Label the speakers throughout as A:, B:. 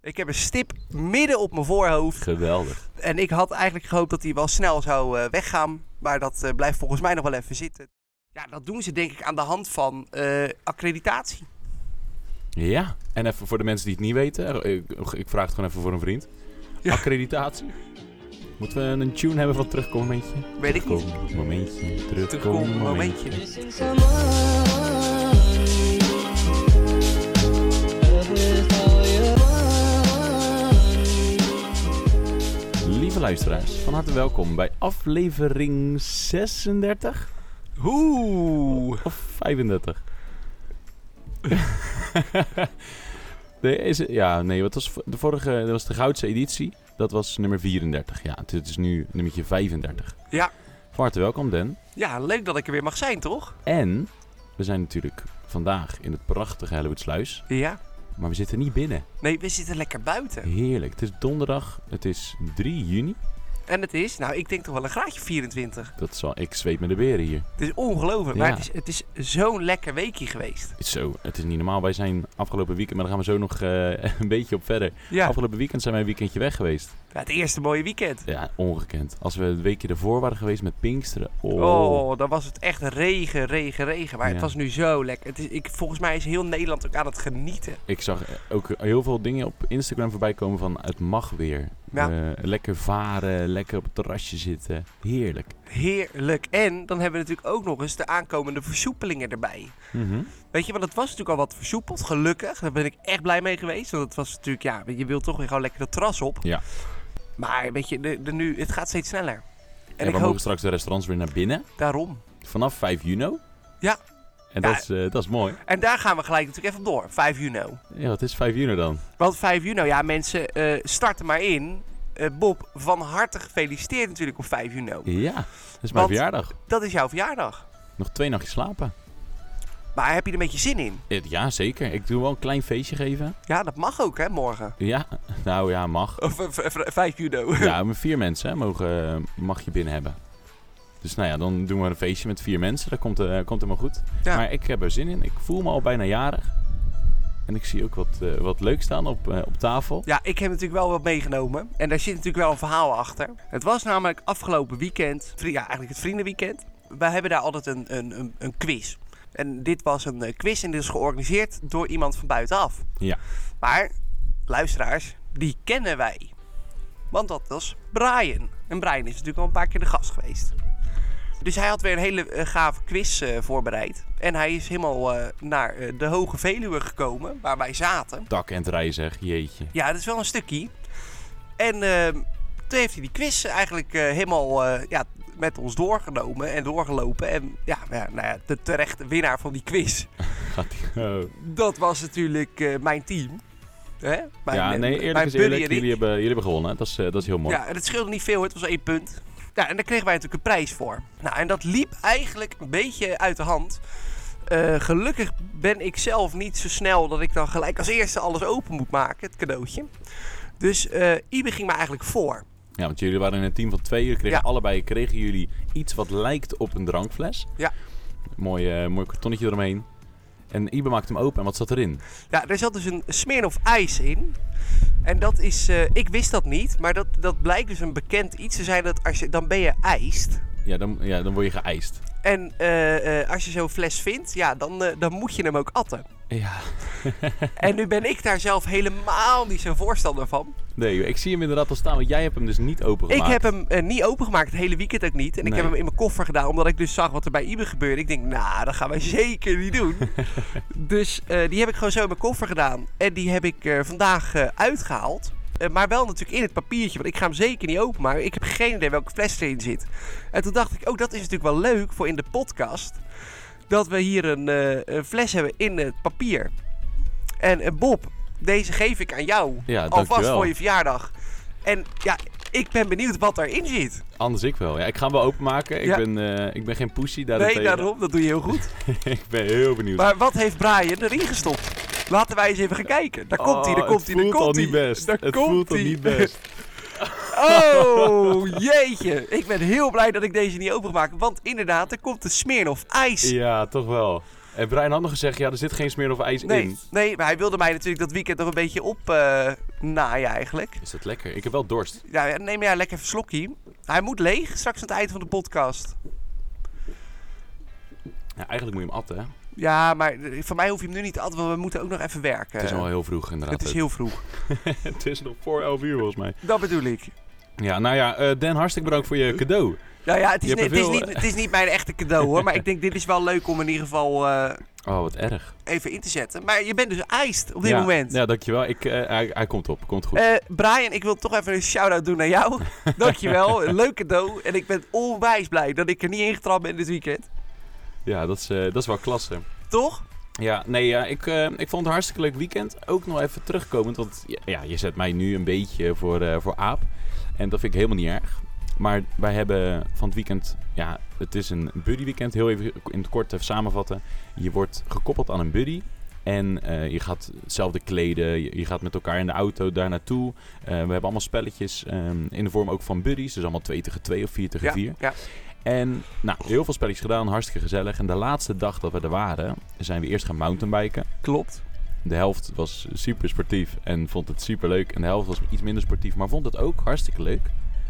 A: Ik heb een stip midden op mijn voorhoofd.
B: Geweldig.
A: En ik had eigenlijk gehoopt dat hij wel snel zou eh, weggaan. Maar dat eh, blijft volgens mij nog wel even zitten. Ja, dat doen ze denk ik aan de hand van eh, accreditatie.
B: Ja. En even voor de mensen die het niet weten. eh, Ik, ik vraag het gewoon even voor een vriend.
A: Ja.
B: Accreditatie. Moeten we een een tune hebben van terugkom momentje?
A: Weet ik niet.
B: Terugkom momentje. Terugkom
A: Terugkom,
B: momentje.
A: momentje.
C: Missing someone. Love is all you want.
B: Lieve luisteraars, van harte welkom bij aflevering 36
A: Oeh.
B: of 35. nee, is het- ja, nee, wat was v- de vorige? Dat was de goudse editie. Dat was nummer 34. Ja, dit is nu nummertje 35.
A: Ja.
B: Van harte welkom, Den.
A: Ja, leuk dat ik er weer mag zijn, toch?
B: En we zijn natuurlijk vandaag in het prachtige Hellewoedsluis,
A: Ja.
B: maar we zitten niet binnen.
A: Nee, we zitten lekker buiten.
B: Heerlijk. Het is donderdag. Het is 3 juni.
A: En het is, nou, ik denk toch wel een graadje 24.
B: Dat zal ik zweet met de beren hier.
A: Het is ongelooflijk. Maar
B: Ja.
A: het is, het is zo'n lekker weekje geweest.
B: Zo, het is niet normaal. Wij zijn afgelopen weekend, maar daar gaan we zo nog eh, een beetje op verder.
A: Ja.
B: Afgelopen weekend zijn wij een weekendje weg geweest.
A: Ja, het eerste mooie weekend.
B: Ja, ongekend. Als we het weekje ervoor waren geweest met Pinksteren. Oh,
A: Oh, dan was het echt regen, regen, regen. Maar het
B: Ja.
A: was nu zo lekker. Het is, ik, volgens mij is heel Nederland ook aan het genieten.
B: Ik zag ook heel veel dingen op Instagram voorbij komen van het mag weer.
A: Ja.
B: Eh, lekker varen, lekker op het terrasje zitten. Heerlijk.
A: Heerlijk. En dan hebben we natuurlijk ook nog eens de aankomende versoepelingen erbij.
B: Mhm.
A: Weet je, want het was natuurlijk al wat versoepeld, gelukkig. Daar ben ik echt blij mee geweest. Want het was natuurlijk, ja, je wilt toch weer gewoon lekker dat terras op.
B: Ja.
A: Maar weet je, de, de nu, het gaat steeds sneller.
B: En
A: En
B: we
A: ik hoop
B: mogen straks de restaurants weer naar binnen.
A: daarom.
B: Vanaf 5 juni.
A: Ja.
B: En
A: Ja.
B: Dat, is, eh, dat is mooi.
A: En daar gaan we gelijk natuurlijk even op door. 5 juni.
B: Ja, wat is 5 juni dan?
A: Want 5 juni, ja mensen, eh start er maar in. Eh, Bob, van harte gefeliciteerd natuurlijk op nou. 5 juni.
B: Ja, dat is mijn
A: Want-
B: verjaardag.
A: Dat is jouw verjaardag.
B: Nog twee nachtjes slapen.
A: Maar heb je er een beetje zin in?
B: Eh, Ja, zeker. Ik doe wel een klein feestje geven.
A: Ja, dat mag ook, hè, morgen.
B: Ja, nou ja, mag.
A: Of eh, v- v- 5 juni.
B: Ja, maar vier mensen hè, mogen, eh, mag je binnen hebben. Dus nou ja, dan doen we een feestje met vier mensen. Dat komt, eh, komt helemaal goed.
A: Ja.
B: Maar ik heb er zin in. Ik voel me al bijna jarig. En ik zie ook wat, eh, wat leuk staan op, eh, op tafel.
A: Ja, ik heb natuurlijk wel wat meegenomen. En daar zit natuurlijk wel een verhaal achter. Het was namelijk afgelopen weekend, vri- ja, eigenlijk het vriendenweekend. Wij hebben daar altijd een, een, een, een quiz. En dit was een eh, quiz en dit is georganiseerd door iemand van buitenaf.
B: Ja.
A: Maar, luisteraars, die kennen wij. Want dat was Brian. En Brian is natuurlijk al een paar keer de gast geweest. Dus hij had weer een hele eh, gave quiz eh, voorbereid. En hij is helemaal eh, naar eh, de Hoge Veluwe gekomen, waar wij zaten.
B: Dak en het rij zeg, jeetje.
A: Ja, dat is wel een stukje. En ehm, toen heeft hij die quiz eigenlijk eh, helemaal eh, ja, met ons doorgenomen en doorgelopen. En ja, ja, nou ja, de terechte winnaar van die quiz,
B: Gaat die- oh.
A: dat was natuurlijk eh, mijn team. Hè? Mijn,
B: ja,
A: eh,
B: nee, eerlijk
A: mijn
B: is
A: buddy
B: eerlijk.
A: en ik.
B: Jullie hebben, jullie hebben gewonnen. hè. Dat is, eh, dat is heel mooi.
A: Ja, en het scheelde niet veel, het was één punt. Ja, en daar kregen wij natuurlijk een prijs voor. Nou, en dat liep eigenlijk een beetje uit de hand. Eh, gelukkig ben ik zelf niet zo snel dat ik dan gelijk als eerste alles open moet maken, het cadeautje. Dus eh Ibe ging me eigenlijk voor.
B: Ja, want jullie waren in een team van twee. Jullie kregen
A: Ja.
B: allebei kregen jullie iets wat lijkt op een drankfles.
A: Ja.
B: Mooi, eh, mooi kartonnetje eromheen. En Ibe maakt hem open. En wat zat erin?
A: Ja, er zat dus een Smirnoff ijs in. En dat is, eh, ik wist dat niet, maar dat, dat blijkt dus een bekend iets te zijn dat als je, dan ben je ijst.
B: Ja, dan, ja, dan word je geëist.
A: En eh, eh, als je zo'n fles vindt, ja, dan, eh, dan moet je hem ook atten.
B: Ja.
A: En nu ben ik daar zelf helemaal niet zo'n voorstander van.
B: Nee, ik zie hem inderdaad al staan. Want jij hebt hem dus niet opengemaakt.
A: Ik heb hem eh, niet opengemaakt, het hele weekend ook niet. En ik
B: Nee.
A: heb hem in mijn koffer gedaan, omdat ik dus zag wat er bij Ibe gebeurde. Ik denk, nou, dat gaan wij zeker niet doen. dus eh, die heb ik gewoon zo in mijn koffer gedaan. En die heb ik eh, vandaag eh, uitgehaald. Eh, maar wel natuurlijk in het papiertje, want ik ga hem zeker niet openmaken. Ik heb geen idee welke fles erin zit. En toen dacht ik, oh, dat is natuurlijk wel leuk voor in de podcast. Dat we hier een, eh, een fles hebben in het papier. En eh, Bob, deze geef ik aan jou.
B: Ja,
A: Alvast
B: dankjewel.
A: voor je verjaardag. En ja, ik ben benieuwd wat daarin zit.
B: Anders ik wel. Ja, ik ga hem wel openmaken. Ik,
A: Ja.
B: ben, eh, ik ben geen pussy daarentegen.
A: Nee, daarom, dat doe je heel goed.
B: ik ben heel benieuwd.
A: Maar wat heeft Brian erin gestopt? Laten wij eens even gaan kijken. Daar komt hij, daar
B: Oh,
A: komt hij, daar
B: Het voelt al
A: komt hij.
B: niet best.
A: Daar
B: het
A: komt
B: voelt al
A: hij.
B: niet best.
A: Oh, jeetje. Ik ben heel blij dat ik deze niet open maak. Want inderdaad, er komt de Smirnoff ijs.
B: Ja, toch wel. En Brian had nog gezegd, ja, er zit geen smeer of ijs
A: Nee,
B: in.
A: nee, maar hij wilde mij natuurlijk dat weekend nog een beetje op... eh, naai eigenlijk.
B: Is dat lekker? Ik heb wel dorst.
A: Ja, ja, neem jij lekker even een slokje. Hij moet leeg straks aan het eind van de podcast.
B: Ja, eigenlijk moet je hem atten, hè?
A: Ja, maar eh, van mij hoef je hem nu niet te atten, want we moeten ook nog even werken.
B: Het is al heel vroeg inderdaad.
A: Het is heel vroeg.
B: het is nog voor 11 uur volgens mij.
A: Dat bedoel ik.
B: Ja, nou ja, eh, Dan, hartstikke bedankt voor je cadeau.
A: Nou ja, het is,
B: Je
A: ni-
B: hebt
A: het,
B: er
A: is
B: veel, eh,
A: niet, het is niet mijn echte cadeau hoor. Maar ik denk, dit is wel leuk om in ieder geval eh,
B: Oh, wat erg.
A: even in te zetten. Maar je bent dus ijst op dit
B: ja,
A: moment.
B: Ja, dankjewel. Ik, eh, hij, hij komt op. Komt goed.
A: Eh, Brian, ik wil toch even een shout-out doen naar jou. Dankjewel, een leuk cadeau. En ik ben onwijs blij dat ik er niet ingetrapt ben dit weekend.
B: Ja, dat is, eh, dat is wel klasse.
A: Toch?
B: Ja, nee, ja, ik, eh, ik vond het een hartstikke leuk weekend. Ook nog even terugkomend, want ja, ja, je zet mij nu een beetje voor, eh, voor aap. En dat vind ik helemaal niet erg. Maar wij hebben van het weekend, ja, het is een buddy weekend. Heel even in het kort even samenvatten. Je wordt gekoppeld aan een buddy. En eh, je gaat hetzelfde kleden, je, je gaat met elkaar in de auto daar naartoe. Eh, we hebben allemaal spelletjes ehm, in de vorm ook van buddies. Dus allemaal 2 tegen 2 of 4 tegen
A: Ja,
B: 4.
A: ja.
B: En nou, heel veel spelletjes gedaan, hartstikke gezellig. En de laatste dag dat we er waren, zijn we eerst gaan mountainbiken.
A: Klopt.
B: De helft was super sportief en vond het super leuk. En de helft was iets minder sportief, maar vond het ook hartstikke leuk.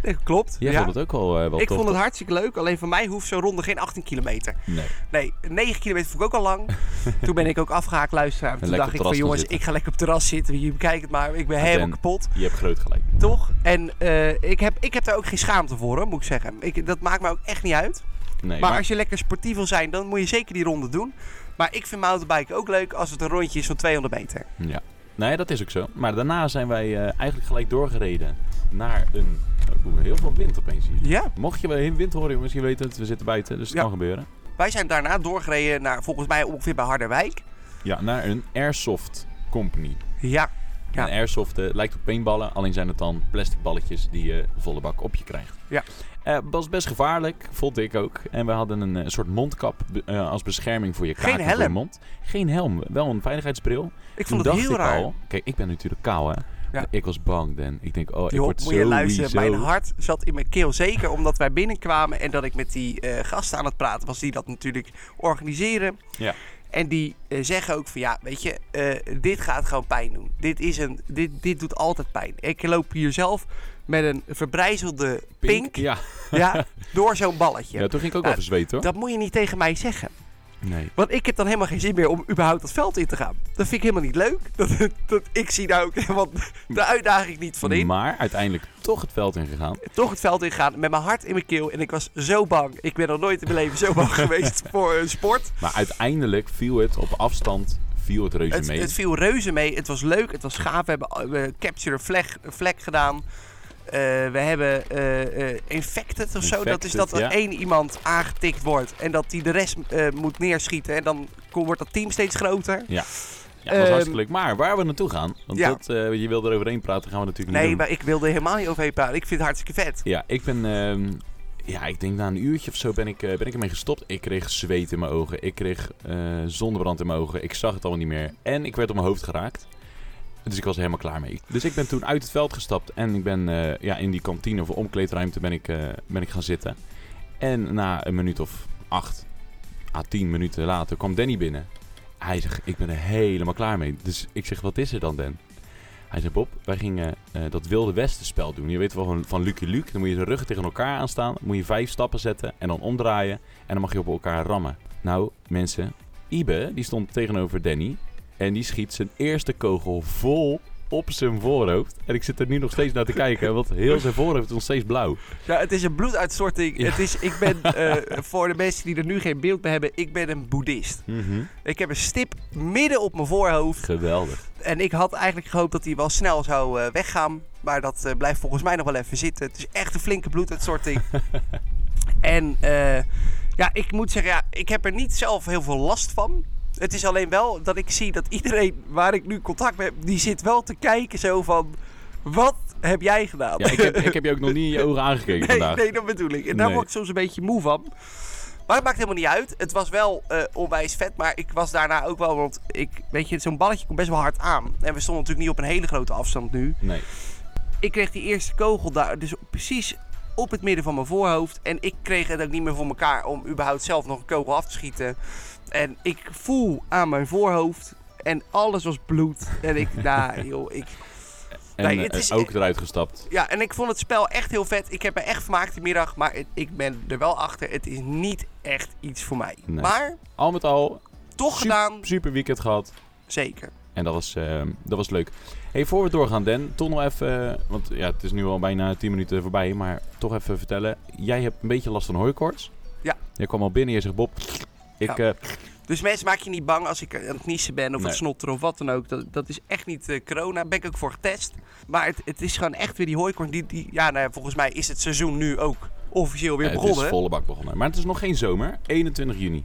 A: Nee, klopt.
B: Jij
A: ja.
B: vond het ook wel, eh, wel
A: ik
B: tof.
A: vond het hartstikke leuk, alleen van mij hoeft zo'n ronde geen 18 kilometer.
B: toch? Nee.
A: Nee, 9 kilometer vond ik ook al lang. toen ben ik ook afgehaakt luisteraar. want
B: En
A: Toen dacht
B: lekker
A: ik
B: op
A: van jongens,
B: terras gaan zitten.
A: ik ga lekker op het terras zitten. Je bekijkt het maar, ik ben helemaal
B: Ben.
A: kapot.
B: Je hebt groot gelijk.
A: Toch? En eh, ik, heb, ik heb daar ook geen schaamte voor, hoor, moet ik zeggen. Ik, dat maakt me ook echt niet uit.
B: Nee,
A: maar, als je lekker sportief wil zijn, dan moet je zeker die ronde doen. Maar ik vind mountainbiken ook leuk als het een rondje is van 200 meter.
B: Ja. Nee, dat is ook zo. Maar daarna zijn wij eh, eigenlijk gelijk doorgereden naar een... Oeh, heel veel wind opeens hier.
A: Ja,
B: Mocht je wel heel wind horen, jongens, je weet het, we zitten buiten, dus het
A: Ja.
B: kan gebeuren.
A: wij zijn daarna doorgereden naar volgens mij ongeveer bij Harderwijk.
B: Ja, naar een airsoft company.
A: Ja, Ja.
B: En airsoft eh, lijkt op paintballen, alleen zijn het dan plastic balletjes die je volle bak op je krijgt.
A: Ja.
B: Eh, was best gevaarlijk, vond ik ook. En we hadden een eh, soort mondkap be- eh, als bescherming voor je kaak
A: Geen
B: en voor je
A: helm.
B: mond. Geen helm, wel een veiligheidsbril.
A: ik vond
B: Toen
A: het
B: dacht
A: heel
B: ik
A: raar.
B: al, kijk, ik ben natuurlijk kaal hè.
A: Ja.
B: Ik was bang, Dan. Ik denk, oh, ik
A: Joh,
B: word
A: moet je luisteren,
B: sowieso...
A: mijn hart zat in mijn keel. Zeker omdat wij binnenkwamen en dat ik met die eh, gasten aan het praten was die dat natuurlijk organiseren.
B: Ja.
A: En die eh, zeggen ook van ja, weet je, eh, dit gaat gewoon pijn doen. Dit, is een, dit, dit doet altijd pijn. Ik loop hier zelf met een verbrijzelde pink,
B: Ja.
A: ja, door zo'n balletje.
B: ja, toen ging ik ook
A: Ja, Nou,
B: wel verzweten hoor.
A: Dat moet je niet tegen mij zeggen.
B: Nee.
A: Want ik heb dan helemaal geen zin meer om überhaupt dat veld in te gaan. Dat vind ik helemaal niet leuk. Dat, dat, ik zie daar ook helemaal de uitdaging niet van in.
B: Maar uiteindelijk toch het veld ingegaan.
A: Toch het veld ingaan met mijn hart in mijn keel. En ik was zo bang. Ik ben nog nooit in mijn leven zo bang geweest voor een sport.
B: Maar uiteindelijk viel het op afstand, viel het reuze
A: Het,
B: mee.
A: het viel reuze mee. Het was leuk. Het was gaaf. We hebben eh, we capture flag, flag gedaan. Eh, we hebben eh, eh, infected of zo. dat is dat er
B: Infected, ja.
A: één iemand aangetikt wordt. En dat die de rest eh, moet neerschieten. En dan ko- wordt dat team steeds groter.
B: Ja, dat was
A: Ehm,
B: hartstikke leuk. Maar waar we naartoe gaan, want
A: ja.
B: dat, eh, je wil eroverheen praten, gaan we natuurlijk niet
A: Nee,
B: doen.
A: maar ik wilde helemaal niet overheen praten. Ik vind het hartstikke vet.
B: Ja, ik ben, ehm, ja, ik denk na een uurtje of zo ben ik, eh, ben ik ermee gestopt. Ik kreeg zweet in mijn ogen, ik kreeg eh, zonnebrand in mijn ogen, ik zag het allemaal niet meer. En ik werd op mijn hoofd geraakt. Dus ik was er helemaal klaar mee. Dus ik ben toen uit het veld gestapt en ik ben eh, ja, in die kantine of omkleedruimte ben ik, eh, ben ik gaan zitten. En na een minuut of acht à tien minuten later kwam Danny binnen. Hij zegt, ik ben er helemaal klaar mee. Dus ik zeg, wat is er dan, Dan? Hij zei, Bob, wij gingen eh, dat Wilde Westen spel doen. Je weet wel van, van Lucky Luke. Dan moet je de ruggen tegen elkaar aanstaan. Dan moet je vijf stappen zetten en dan omdraaien. En dan mag je op elkaar rammen. Nou, mensen, Ibe, die stond tegenover Danny. En die schiet zijn eerste kogel vol op zijn voorhoofd. En ik zit er nu nog steeds naar te kijken, want heel zijn voorhoofd is nog steeds blauw.
A: Ja, Nou, het is een bloeduitstorting.
B: Ja.
A: Het is, ik ben, eh, voor de mensen die er nu geen beeld bij hebben, ik ben een boeddhist. Ik heb een stip midden op mijn voorhoofd.
B: Geweldig.
A: En ik had eigenlijk gehoopt dat hij wel snel zou eh, weggaan. Maar dat eh, blijft volgens mij nog wel even zitten. Het is echt een flinke bloeduitstorting. en eh, ja, ik moet zeggen, ja, ik heb er niet zelf heel veel last van. Het is alleen wel dat ik zie dat iedereen waar ik nu contact mee heb, die zit wel te kijken zo van... Wat heb jij gedaan?
B: Ja, ik heb, ik heb je ook nog niet in je ogen aangekeken
A: Nee,
B: vandaag.
A: nee, dat bedoel ik. En daar
B: Nee.
A: word ik soms een beetje moe van. Maar het maakt helemaal niet uit. Het was wel eh, onwijs vet, maar ik was daarna ook wel... Want ik, weet je, zo'n balletje komt best wel hard aan. En we stonden natuurlijk niet op een hele grote afstand nu.
B: Nee.
A: Ik kreeg die eerste kogel daar, dus precies op het midden van mijn voorhoofd. En ik kreeg het ook niet meer voor elkaar om überhaupt zelf nog een kogel af te schieten. En ik voel aan mijn voorhoofd en alles was bloed. En ik, nou joh, ik...
B: En
A: Nee, het
B: eh,
A: is-
B: ook eruit gestapt.
A: Ja, en ik vond het spel echt heel vet. Ik heb me echt vermaakt die middag. Maar het- ik ben er wel achter. Het is niet echt iets voor mij.
B: Nee.
A: Maar
B: Al met al,
A: toch
B: Super.
A: gedaan.
B: super weekend gehad.
A: Zeker.
B: En dat was, ehm, dat was leuk. Hey, voor we doorgaan, Dan, toch nog even. eh, want ja, het is nu al bijna 10 minuten voorbij. Maar toch even vertellen. Jij hebt een beetje last van hooikoorts.
A: Ja.
B: Jij kwam al binnen en je zegt: Bob, ik. eh,
A: Dus mensen, maak je niet bang als ik eh, aan het niezen ben of aan
B: Nee.
A: het snotteren of wat dan ook. Dat, dat is echt niet eh, corona. Daar ben ik ook voor getest. Maar het, het is gewoon echt weer die hooikorn. Die, die, ja, nou, ja, volgens mij is het seizoen nu ook officieel weer
B: het
A: begonnen.
B: is volle bak begonnen. Maar het is nog geen zomer. 21 juni. Is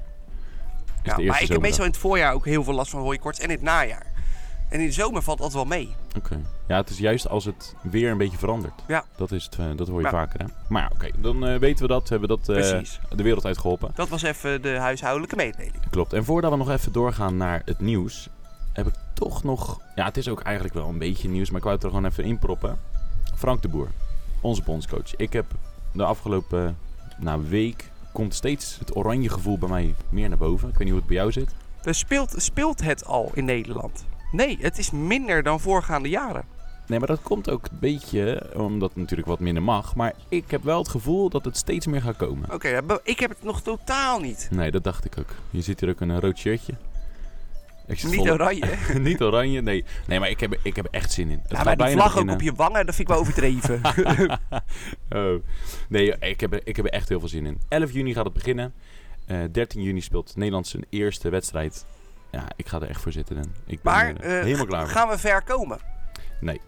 A: ja,
B: de
A: maar
B: eerste
A: ik heb
B: zomerdag.
A: meestal in het voorjaar ook heel veel last van hooikorts. En in het najaar. En in de zomer valt dat wel mee.
B: Oké. Ja, het is juist als het weer een beetje verandert.
A: Ja.
B: Dat, is het, eh, dat hoor je
A: Ja.
B: vaker, hè? Maar ja, oké, dan eh, weten we dat. We hebben dat eh,
A: Precies.
B: de wereld uitgeholpen.
A: Dat was even de huishoudelijke mededeling.
B: Klopt. En voordat we nog even doorgaan naar het nieuws, heb ik toch nog... Ja, het is ook eigenlijk wel een beetje nieuws, maar ik wou het er gewoon even in proppen. Frank de Boer, onze bondscoach. Ik heb de afgelopen nou, week... komt steeds het oranje gevoel bij mij meer naar boven. Ik weet niet hoe het bij jou zit.
A: Dus speelt, speelt het al in Nederland? Nee, het is minder dan voorgaande jaren.
B: Nee, maar dat komt ook een beetje omdat het natuurlijk wat minder mag. Maar ik heb wel het gevoel dat het steeds meer gaat komen.
A: Oké, ja, be- ik heb het nog totaal niet.
B: Nee, dat dacht ik ook. Je ziet hier ook in een rood shirtje. Ik zit
A: Niet
B: vol-
A: oranje.
B: Niet oranje, nee. Nee, maar ik heb, ik heb er echt zin in. Het
A: Ja,
B: gaat
A: maar die
B: bijna
A: vlag ook
B: beginnen. Nou.
A: op je wangen, dat vind ik wel overdreven.
B: Oh. Nee, ik heb, er- ik heb er echt heel veel zin in. 11 juni gaat het beginnen. Eh, 13 juni speelt Nederland zijn eerste wedstrijd. Ja, ik ga er echt voor zitten. Dan. Ik ben
A: maar
B: er
A: eh,
B: helemaal klaar voor.
A: gaan we ver komen?
B: Nee.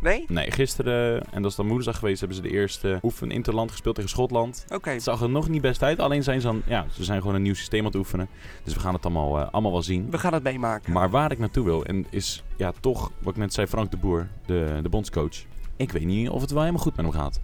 A: Nee?
B: Nee, gisteren, en dat is dan woensdag geweest, hebben ze de eerste oefen interland gespeeld tegen Schotland.
A: Oké.
B: Het zag er nog niet best uit. Alleen zijn ze, dan, ja, ze zijn gewoon een nieuw systeem aan het oefenen. Dus we gaan het allemaal, eh, allemaal wel zien.
A: We gaan het meemaken.
B: Maar waar ik naartoe wil, en is ja, toch wat ik net zei, Frank de Boer, de, de bondscoach. Ik weet niet of het wel helemaal goed met hem gaat.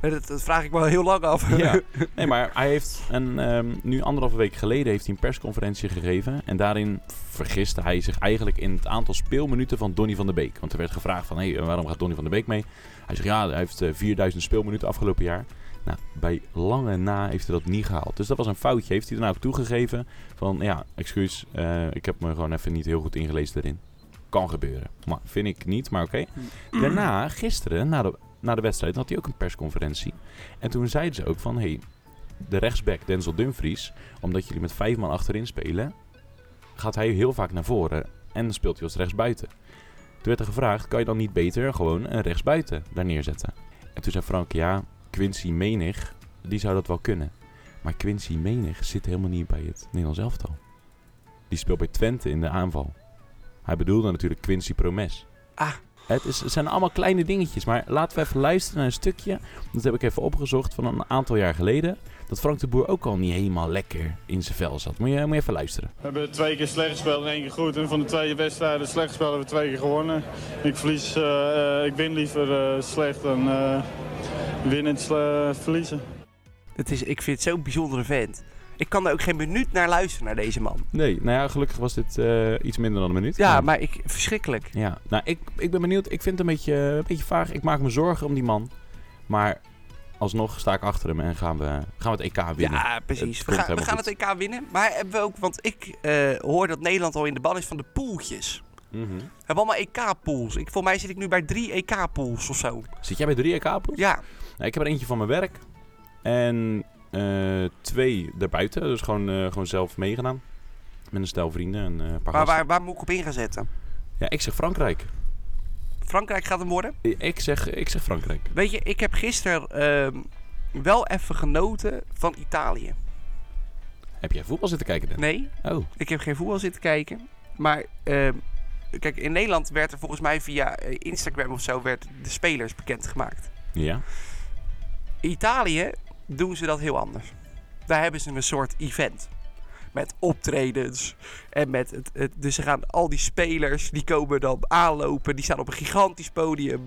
A: Eh, Dat, dat vraag ik me al heel lang af.
B: Ja. Nee, maar hij heeft een, ehm, nu anderhalve week geleden heeft hij een persconferentie gegeven. En daarin vergiste hij zich eigenlijk in het aantal speelminuten van Donny van der Beek. Want er werd gevraagd van, hé, waarom gaat Donny van der Beek mee? Hij zegt, ja, hij heeft eh, 4000 speelminuten afgelopen jaar. Nou, bij lange na heeft hij dat niet gehaald. Dus dat was een foutje. Heeft hij daarna ook toegegeven van, ja, excuus, eh, ik heb me gewoon even niet heel goed ingelezen daarin. Kan gebeuren. Maar vind ik niet, maar oké. Daarna, gisteren, na de, na de wedstrijd, had hij ook een persconferentie. En toen zeiden ze ook van, hé, hey, de rechtsback Denzel Dumfries, omdat jullie met vijf man achterin spelen, gaat hij heel vaak naar voren en dan speelt hij als rechtsbuiten. Toen werd er gevraagd, kan je dan niet beter gewoon een rechtsbuiten daar neerzetten? En toen zei Frank, ja, Quincy Menig, die zou dat wel kunnen. Maar Quincy Menig zit helemaal niet bij het Nederlands elftal. Die speelt bij Twente in de aanval. Hij bedoelde natuurlijk Quincy Promes.
A: Ah.
B: Het, is, het zijn allemaal kleine dingetjes, maar laten we even luisteren naar een stukje. Dat heb ik even opgezocht van een aantal jaar geleden. Dat Frank de Boer ook al niet helemaal lekker in zijn vel zat. Moet je, moet je even luisteren.
C: We hebben twee keer slecht gespeeld en één keer goed. En van de twee wedstrijden slecht gespeeld hebben we twee keer gewonnen. Ik, verlies, eh, eh, ik win liever eh, slecht dan eh winnen sle- verliezen.
A: Het is, ik vind het zo'n bijzondere vent. Ik kan er ook geen minuut naar luisteren, naar deze man.
B: Nee, nou ja, gelukkig was dit eh, iets minder dan een minuut.
A: Ja,
B: Maar-
A: maar ik, verschrikkelijk.
B: Ja, nou, ik, ik ben benieuwd. Ik vind het een beetje, een beetje vaag. Ik maak me zorgen om die man. Maar alsnog sta ik achter hem en gaan we, gaan we het EK winnen.
A: Ja, precies.
B: Het
A: We,
B: komt
A: gaan- we gaan
B: helemaal
A: het EK winnen. Maar hebben we ook, want ik eh, hoor dat Nederland al in de ban is van de poeltjes.
B: Mhm.
A: We hebben allemaal EK-pools. Ik, voor mij zit ik nu bij drie EK-pools of zo.
B: Zit jij bij drie EK-pools?
A: Ja,
B: Nou, ik heb er eentje van mijn werk. En eh, twee daarbuiten. Dus gewoon, eh, gewoon zelf meegedaan. Met een stel vrienden en eh, een
A: maar
B: paar gasten.
A: waar, waar moet ik op in gaan zetten?
B: Ja, ik zeg Frankrijk.
A: Frankrijk gaat hem worden.
B: Ik zeg, ik zeg Frankrijk.
A: Weet je, ik heb gisteren ehm, wel even genoten van Italië.
B: Heb jij voetbal zitten kijken, Dan?
A: Nee,
B: Oh,
A: ik heb geen voetbal zitten kijken. Maar ehm, kijk, in Nederland werd er volgens mij via eh, Instagram of zo werd de spelers bekendgemaakt.
B: ja.
A: In Italië doen ze dat heel anders. Daar hebben ze een soort event. Met optredens. En met het, het- dus ze gaan al die spelers, die komen dan aanlopen. Die staan op een gigantisch podium.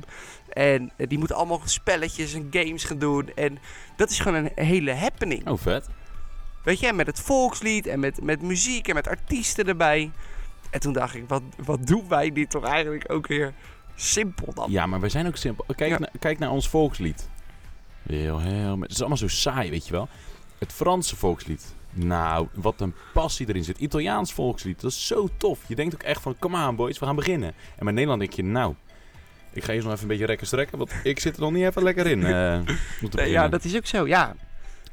A: En eh, die moeten allemaal spelletjes en games gaan doen. En dat is gewoon een hele happening.
B: Oh, vet.
A: Weet je, en met het volkslied en met, met muziek en met artiesten erbij. En toen dacht ik, wat, wat doen wij dit toch eigenlijk ook weer simpel dan?
B: Ja, maar wij zijn ook simpel. Kijk,
A: Ja.
B: na- kijk naar ons volkslied. Heel, heel, het is allemaal zo saai, weet je wel. Het Franse volkslied. Nou, wat een passie erin zit. Italiaans volkslied, dat is zo tof. Je denkt ook echt van, come on boys, we gaan beginnen. En met Nederland denk je, nou, Ik ga eerst nog even een beetje rekken strekken, want ik zit er nog niet even lekker in. eh, om te
A: Nee,
B: beginnen.
A: ja, dat is ook zo, ja.
B: Kunnen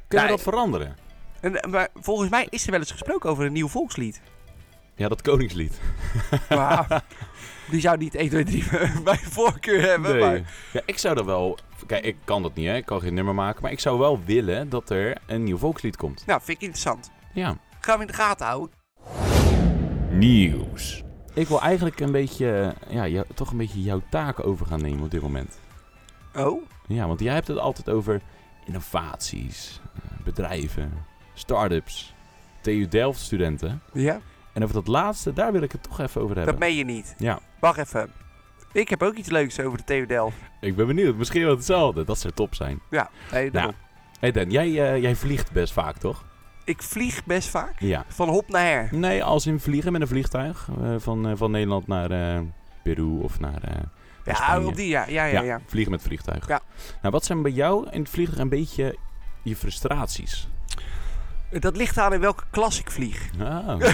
B: we
A: nou,
B: dat veranderen?
A: En, eh, maar volgens mij is er wel eens gesproken over een nieuw volkslied.
B: Ja, dat koningslied.
A: Maar die zou niet 1, 2, 3 bij voorkeur hebben.
B: Nee.
A: Maar,
B: Ja, ik zou dat wel... Kijk, ik kan dat niet, hè. Ik kan geen nummer maken. Maar ik zou wel willen dat er een nieuw volkslied komt.
A: nou, vind ik interessant.
B: Ja.
A: Gaan we in de gaten houden.
B: Nieuws. Ik wil eigenlijk een beetje... Ja, jou- toch een beetje jouw taak over gaan nemen op dit moment.
A: Oh,
B: Ja, want jij hebt het altijd over innovaties, eh, bedrijven, start-ups, TU Delft studenten.
A: ja?
B: En over dat laatste, daar wil ik het toch even over hebben.
A: Dat meen je niet.
B: Ja.
A: Wacht even. Ik heb ook iets leuks over de TU Delft.
B: Ik ben benieuwd, misschien wel hetzelfde. Dat zou top zijn.
A: Ja, nee,
B: Nou.
A: daarom.
B: hey Dan, jij, eh, jij vliegt best vaak, toch?
A: ik vlieg best vaak.
B: Ja.
A: Van hop naar her.
B: Nee, als in vliegen met een vliegtuig eh, van, eh, van Nederland naar eh, Peru of naar... eh,
A: Ja,
B: Spanje.
A: op die, ja. Ja, ja, ja.
B: vliegen met vliegtuig.
A: Ja.
B: Nou, wat zijn bij jou in het vliegtuig een beetje je frustraties?
A: Dat ligt aan in welke klas ik vlieg.
B: Ah. Ja,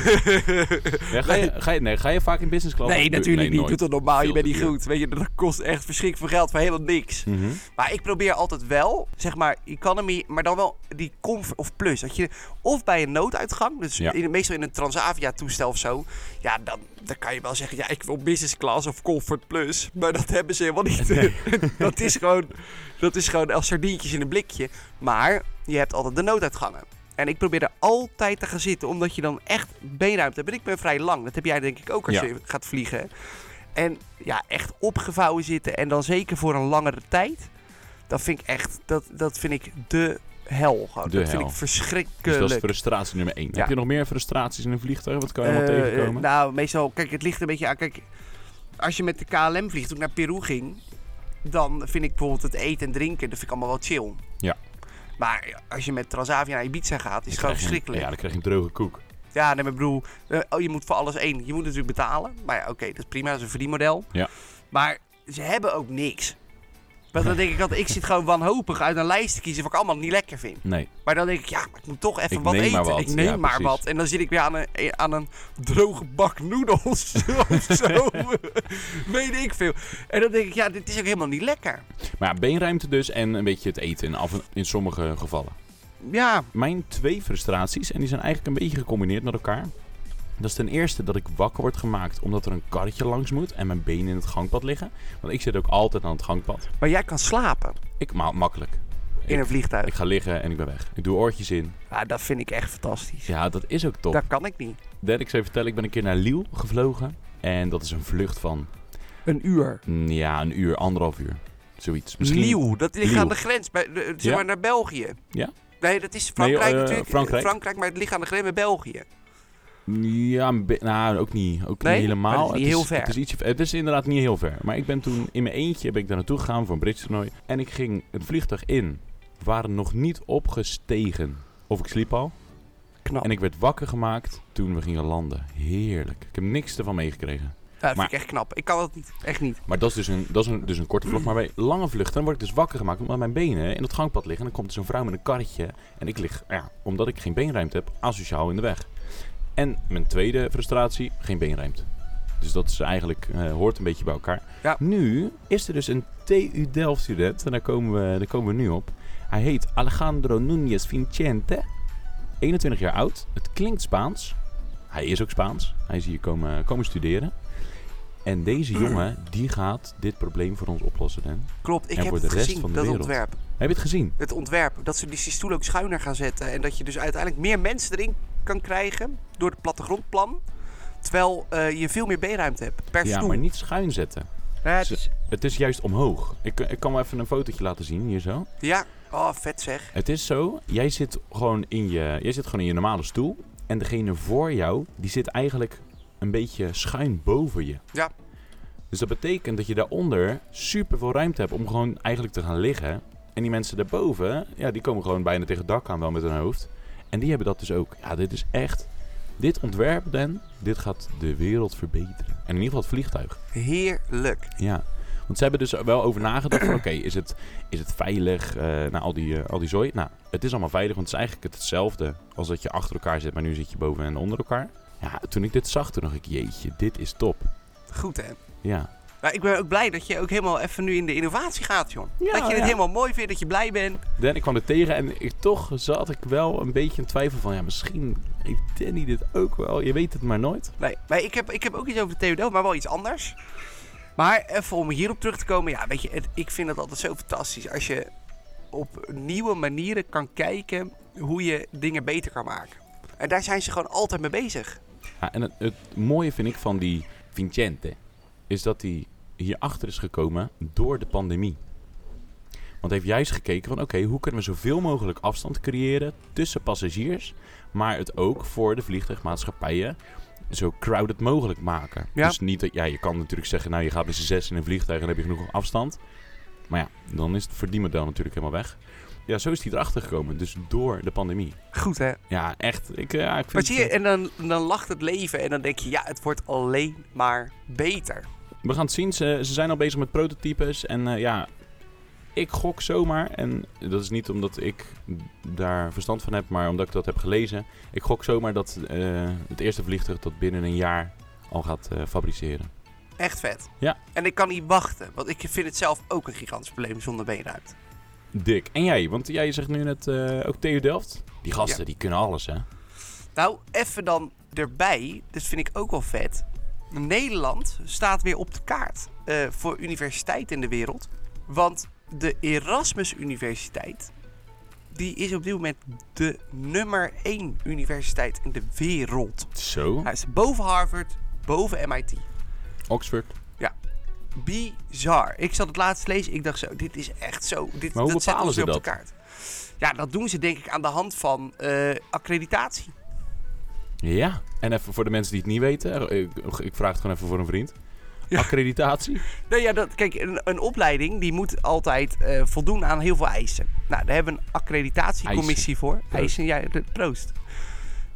B: ga, je, ga, je, nee, ga je vaak in business class?
A: nee, natuurlijk niet.
B: nooit.
A: Doe dat normaal.
B: Veel
A: je bent
B: te
A: niet
B: duur.
A: goed. Weet je, dat kost echt verschrikkelijk veel geld voor helemaal niks.
B: Mhm.
A: Maar ik probeer altijd wel, zeg maar, economy, maar dan wel die comfort of plus. Dat je, of bij een nooduitgang, dus
B: Ja.
A: in, meestal in een Transavia-toestel of zo. Ja, dan, dan kan je wel zeggen, ja, ik wil business class of comfort plus. Maar dat hebben ze helemaal niet. dat, is gewoon, dat is gewoon als sardientjes in een blikje. Maar je hebt altijd de nooduitgangen. En ik probeer er altijd te gaan zitten, omdat je dan echt beenruimte hebt. En ik ben vrij lang. Dat heb jij denk ik ook als
B: Ja.
A: je gaat vliegen. En ja, echt opgevouwen zitten. En dan zeker voor een langere tijd. Dat vind ik echt, dat, dat vind ik de hel. Gewoon.
B: De
A: dat vind
B: hel.
A: ik
B: Dus dat is
A: verschrikkelijk.
B: frustratie nummer 1.
A: Ja.
B: Heb je nog meer frustraties in een vliegtuig? Wat kan je allemaal
A: Eh,
B: tegenkomen?
A: eh, nou, meestal, kijk, het ligt een beetje aan. Kijk, als je met de KLM vliegt, toen ik naar Peru ging, dan vind ik bijvoorbeeld het eten en drinken, dat vind ik allemaal wel chill.
B: Ja.
A: Maar als je met Transavia naar Ibiza gaat, is
B: Dan
A: het
B: krijg
A: gewoon
B: je-
A: verschrikkelijk.
B: Ja, dan krijg je een droge koek.
A: Ja, nee, maar ik bedoel, eh, oh, je moet voor alles één. Je moet natuurlijk betalen. Maar ja, oké, dat is prima. Dat is een verdienmodel.
B: Ja.
A: Maar ze hebben ook niks. Want dan denk ik dat ik zit gewoon wanhopig uit een lijst te kiezen wat ik allemaal niet lekker vind.
B: Nee,
A: Maar dan denk ik, ja, maar ik moet toch even
B: Ik
A: wat
B: neem
A: eten.
B: maar wat.
A: Ik neem
B: Ja,
A: maar
B: precies.
A: wat. En dan zit ik weer aan een, eh, aan een droge bak noedels of zo. Weet ik veel. En dan denk ik, ja, dit is ook helemaal niet lekker.
B: maar ja, beenruimte dus en een beetje het eten in, af en- in sommige gevallen.
A: Ja,
B: Mijn twee frustraties, en die zijn eigenlijk een beetje gecombineerd met elkaar. Dat is ten eerste dat ik wakker word gemaakt omdat er een karretje langs moet en mijn benen in het gangpad liggen. Want ik zit ook altijd aan het gangpad.
A: maar jij kan slapen
B: Ik maal makkelijk.
A: in
B: Ik-
A: een vliegtuig.
B: Ik ga liggen en ik ben weg. Ik doe oortjes in.
A: Ja, dat vind ik echt fantastisch.
B: Ja, dat is ook top.
A: Dat kan ik niet.
B: Dan, ik zou je vertellen, ik ben een keer naar Liel gevlogen. En dat is een vlucht van
A: Een uur.
B: Mm, Ja, een uur, anderhalf uur. Zoiets.
A: Nieuw, dat ligt
B: Lieuw.
A: aan de grens, bij, de- zeg
B: Ja.
A: maar naar België.
B: Ja.
A: Nee, dat is Frankrijk
B: eh,
A: natuurlijk.
B: Frankrijk.
A: maar het ligt aan de grens met België.
B: Ja, een be- nou, ook niet. Ook
A: Nee?
B: niet helemaal.
A: Maar dat is niet heel ver.
B: Het is, ietsje, het is inderdaad niet heel ver. Maar ik ben toen in mijn eentje ben ik daar naartoe gegaan voor een Brits toernooi. En ik ging het vliegtuig in. We waren nog niet opgestegen. Of ik sliep
A: Oh.
B: al.
A: Knap.
B: En ik werd wakker gemaakt toen we gingen landen. Heerlijk. Ik heb niks ervan meegekregen.
A: Ja, dat
B: maar-
A: vind ik echt knap. Ik kan dat niet. Echt niet.
B: Maar dat is, dus een, dat is een, dus een korte vlucht. Maar bij lange vluchten dan word ik dus wakker gemaakt omdat mijn benen in het gangpad liggen. En dan komt er zo'n vrouw met een karretje. En ik lig, nou ja, omdat ik geen beenruimte heb, asociaal in de weg. En mijn tweede frustratie, geen beenruimte. Dus dat is eigenlijk, eh, hoort een beetje bij elkaar.
A: Ja.
B: Nu is er dus een TU Delft student. En daar komen we, daar komen we nu op. Hij heet Alejandro Núñez Vicente. 21 jaar oud. Het klinkt Spaans. Hij is ook Spaans. Hij is hier komen, komen studeren. En deze jongen, die gaat dit probleem voor ons oplossen, Dan.
A: Klopt, ik
B: En
A: heb
B: voor
A: het
B: de rest
A: gezien,
B: van de
A: dat
B: wereld.
A: ontwerp.
B: Heb je het gezien?
A: Het ontwerp, dat ze die die stoelen ook schuiner gaan zetten. En dat je dus uiteindelijk meer mensen erin kan krijgen door het plattegrondplan. Terwijl eh, je veel meer beenruimte hebt per
B: Ja,
A: stoel. Nou
B: maar niet schuin zetten.
A: Ja, het is-
B: Het is juist omhoog. Ik, ik kan wel even een fotootje laten zien, hier zo.
A: ja. oh vet zeg.
B: Het is zo, jij zit gewoon in je, jij zit gewoon in je normale stoel. En degene voor jou, die zit eigenlijk een beetje schuin boven je.
A: Ja.
B: Dus dat betekent dat je daaronder super veel ruimte hebt om gewoon eigenlijk te gaan liggen. En die mensen daarboven, ja, die komen gewoon bijna tegen het dak aan, wel met hun hoofd. En die hebben dat dus ook. Ja, dit is echt. Dit ontwerp, Dan, dit gaat de wereld verbeteren. En in ieder geval het vliegtuig.
A: Heerlijk.
B: Ja, want ze hebben dus wel over nagedacht van... oké, is, het, is het veilig eh nou, al, die, eh, al die zooi? Nou, het is allemaal veilig, want het is eigenlijk hetzelfde... als dat je achter elkaar zit, maar nu zit je boven en onder elkaar. Ja, toen ik dit zag, toen dacht ik... jeetje, dit is top.
A: Goed hè.
B: Ja,
A: Maar ik ben ook blij dat je ook helemaal even nu in de innovatie gaat, joh.
B: Ja,
A: dat je het
B: ja.
A: helemaal mooi vindt, dat je blij bent.
B: Dan ik kwam er tegen en ik, toch zat ik wel een beetje in twijfel van... Ja, misschien heeft Danny dit ook wel. Je weet het maar nooit.
A: Nee, maar ik heb, ik heb ook iets over de TWO, maar wel iets anders. Maar even om hierop terug te komen. Ja, weet je, het- ik vind het altijd zo fantastisch als je op nieuwe manieren kan kijken hoe je dingen beter kan maken. En daar zijn ze gewoon altijd mee bezig.
B: Ja, en het, het mooie vind ik van die Vincente... is dat hij hierachter is gekomen door de pandemie. Want hij heeft juist gekeken van... oké, hoe kunnen we zoveel mogelijk afstand creëren tussen passagiers... maar het ook voor de vliegtuigmaatschappijen zo crowded mogelijk maken.
A: Ja.
B: Dus niet dat... Ja, je kan natuurlijk zeggen... nou, je gaat met z'n zes in een vliegtuig en dan heb je genoeg afstand. Maar ja, dan is het verdienmodel natuurlijk helemaal weg. Ja, zo is hij erachter gekomen. Dus door de pandemie.
A: Goed, hè?
B: Ja, echt. Ik, eh, ja, ik vind
A: Maar
B: het,
A: zie je, en dan, dan lacht het leven en dan denk je, ja, het wordt alleen maar beter.
B: We gaan het zien. Ze, ze zijn al bezig met prototypes. En eh, ja, ik gok zomaar. En dat is niet omdat ik daar verstand van heb, maar omdat ik dat heb gelezen. Ik gok zomaar dat eh, het eerste vliegtuig dat binnen een jaar al gaat eh, fabriceren.
A: Echt vet.
B: Ja.
A: En ik kan niet wachten, want ik vind het zelf ook een gigantisch probleem zonder beenruimte.
B: Dik. En jij? Want jij zegt nu net eh, ook TU Delft. Die gasten,
A: Ja.
B: die kunnen alles, hè?
A: Nou, even dan erbij, dat vind ik ook wel vet. Nederland staat weer op de kaart eh, voor universiteiten in de wereld. Want de Erasmus Universiteit, die is op dit moment de nummer één universiteit in de wereld.
B: Zo.
A: Hij is boven Harvard, boven MIT.
B: Oxford.
A: Bizar. Ik zat het laatst lezen. Ik dacht zo, dit is echt zo. Dit,
B: Maar hoe
A: dat zet
B: bepalen
A: ons
B: ze
A: weer op
B: dat?
A: de kaart. Ja, dat doen ze denk ik aan de hand van eh, accreditatie.
B: Ja. En even voor de mensen die het niet weten. eh, Ik, ik vraag het gewoon even voor een vriend.
A: Ja.
B: Accreditatie.
A: Nou ja, dat, kijk, een, een opleiding die moet altijd eh, voldoen aan heel veel eisen. Nou, daar hebben we een accreditatiecommissie voor.
B: Proost.
A: Eisen, ja, de- proost.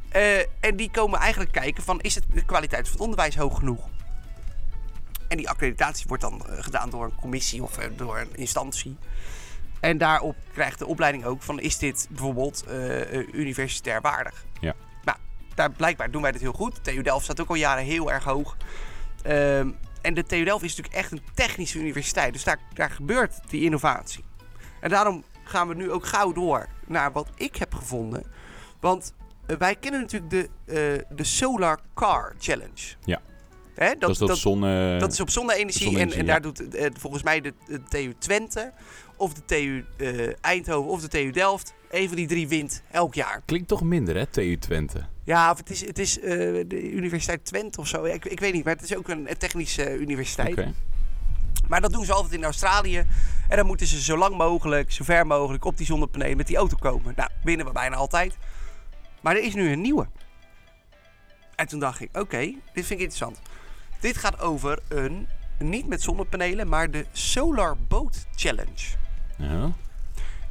A: Eh, en die komen eigenlijk kijken van, is het, de kwaliteit van het onderwijs hoog genoeg? En die accreditatie wordt dan eh, gedaan door een commissie of eh, door een instantie. En daarop krijgt de opleiding ook van, is dit bijvoorbeeld eh, eh, universitair waardig?
B: Ja.
A: Nou, daar, blijkbaar doen wij dit heel goed. TU Delft staat ook al jaren heel erg hoog. Ehm, en de TU Delft is natuurlijk echt een technische universiteit. Dus daar, daar gebeurt die innovatie. En daarom gaan we nu ook gauw door naar wat ik heb gevonden. Want eh, wij kennen natuurlijk de, eh, de Solar Car Challenge.
B: Ja.
A: Hè,
B: Dat, is dat, zon... eh,
A: dat is op zonne-energie. en
B: zonne-energie,
A: en
B: ja.
A: daar doet eh, volgens mij de, de TU Twente, of de TU eh, Eindhoven, of de TU Delft. Een van die drie wint elk jaar.
B: Klinkt toch minder, hè? TU Twente.
A: Ja, of het is, het is eh, de Universiteit Twente of zo. Ja, Ik, ik weet niet, maar het is ook een eh, technische eh, universiteit.
B: Oké.
A: Maar dat doen ze altijd in Australië. En dan moeten ze zo lang mogelijk, zo ver mogelijk op die zonnepanelen met die auto komen. Nou, winnen we bijna altijd. Maar er is nu een nieuwe. En toen dacht ik, oké, dit vind ik interessant. Dit gaat over een, niet met zonnepanelen, maar de Solar Boat Challenge.
B: Ja.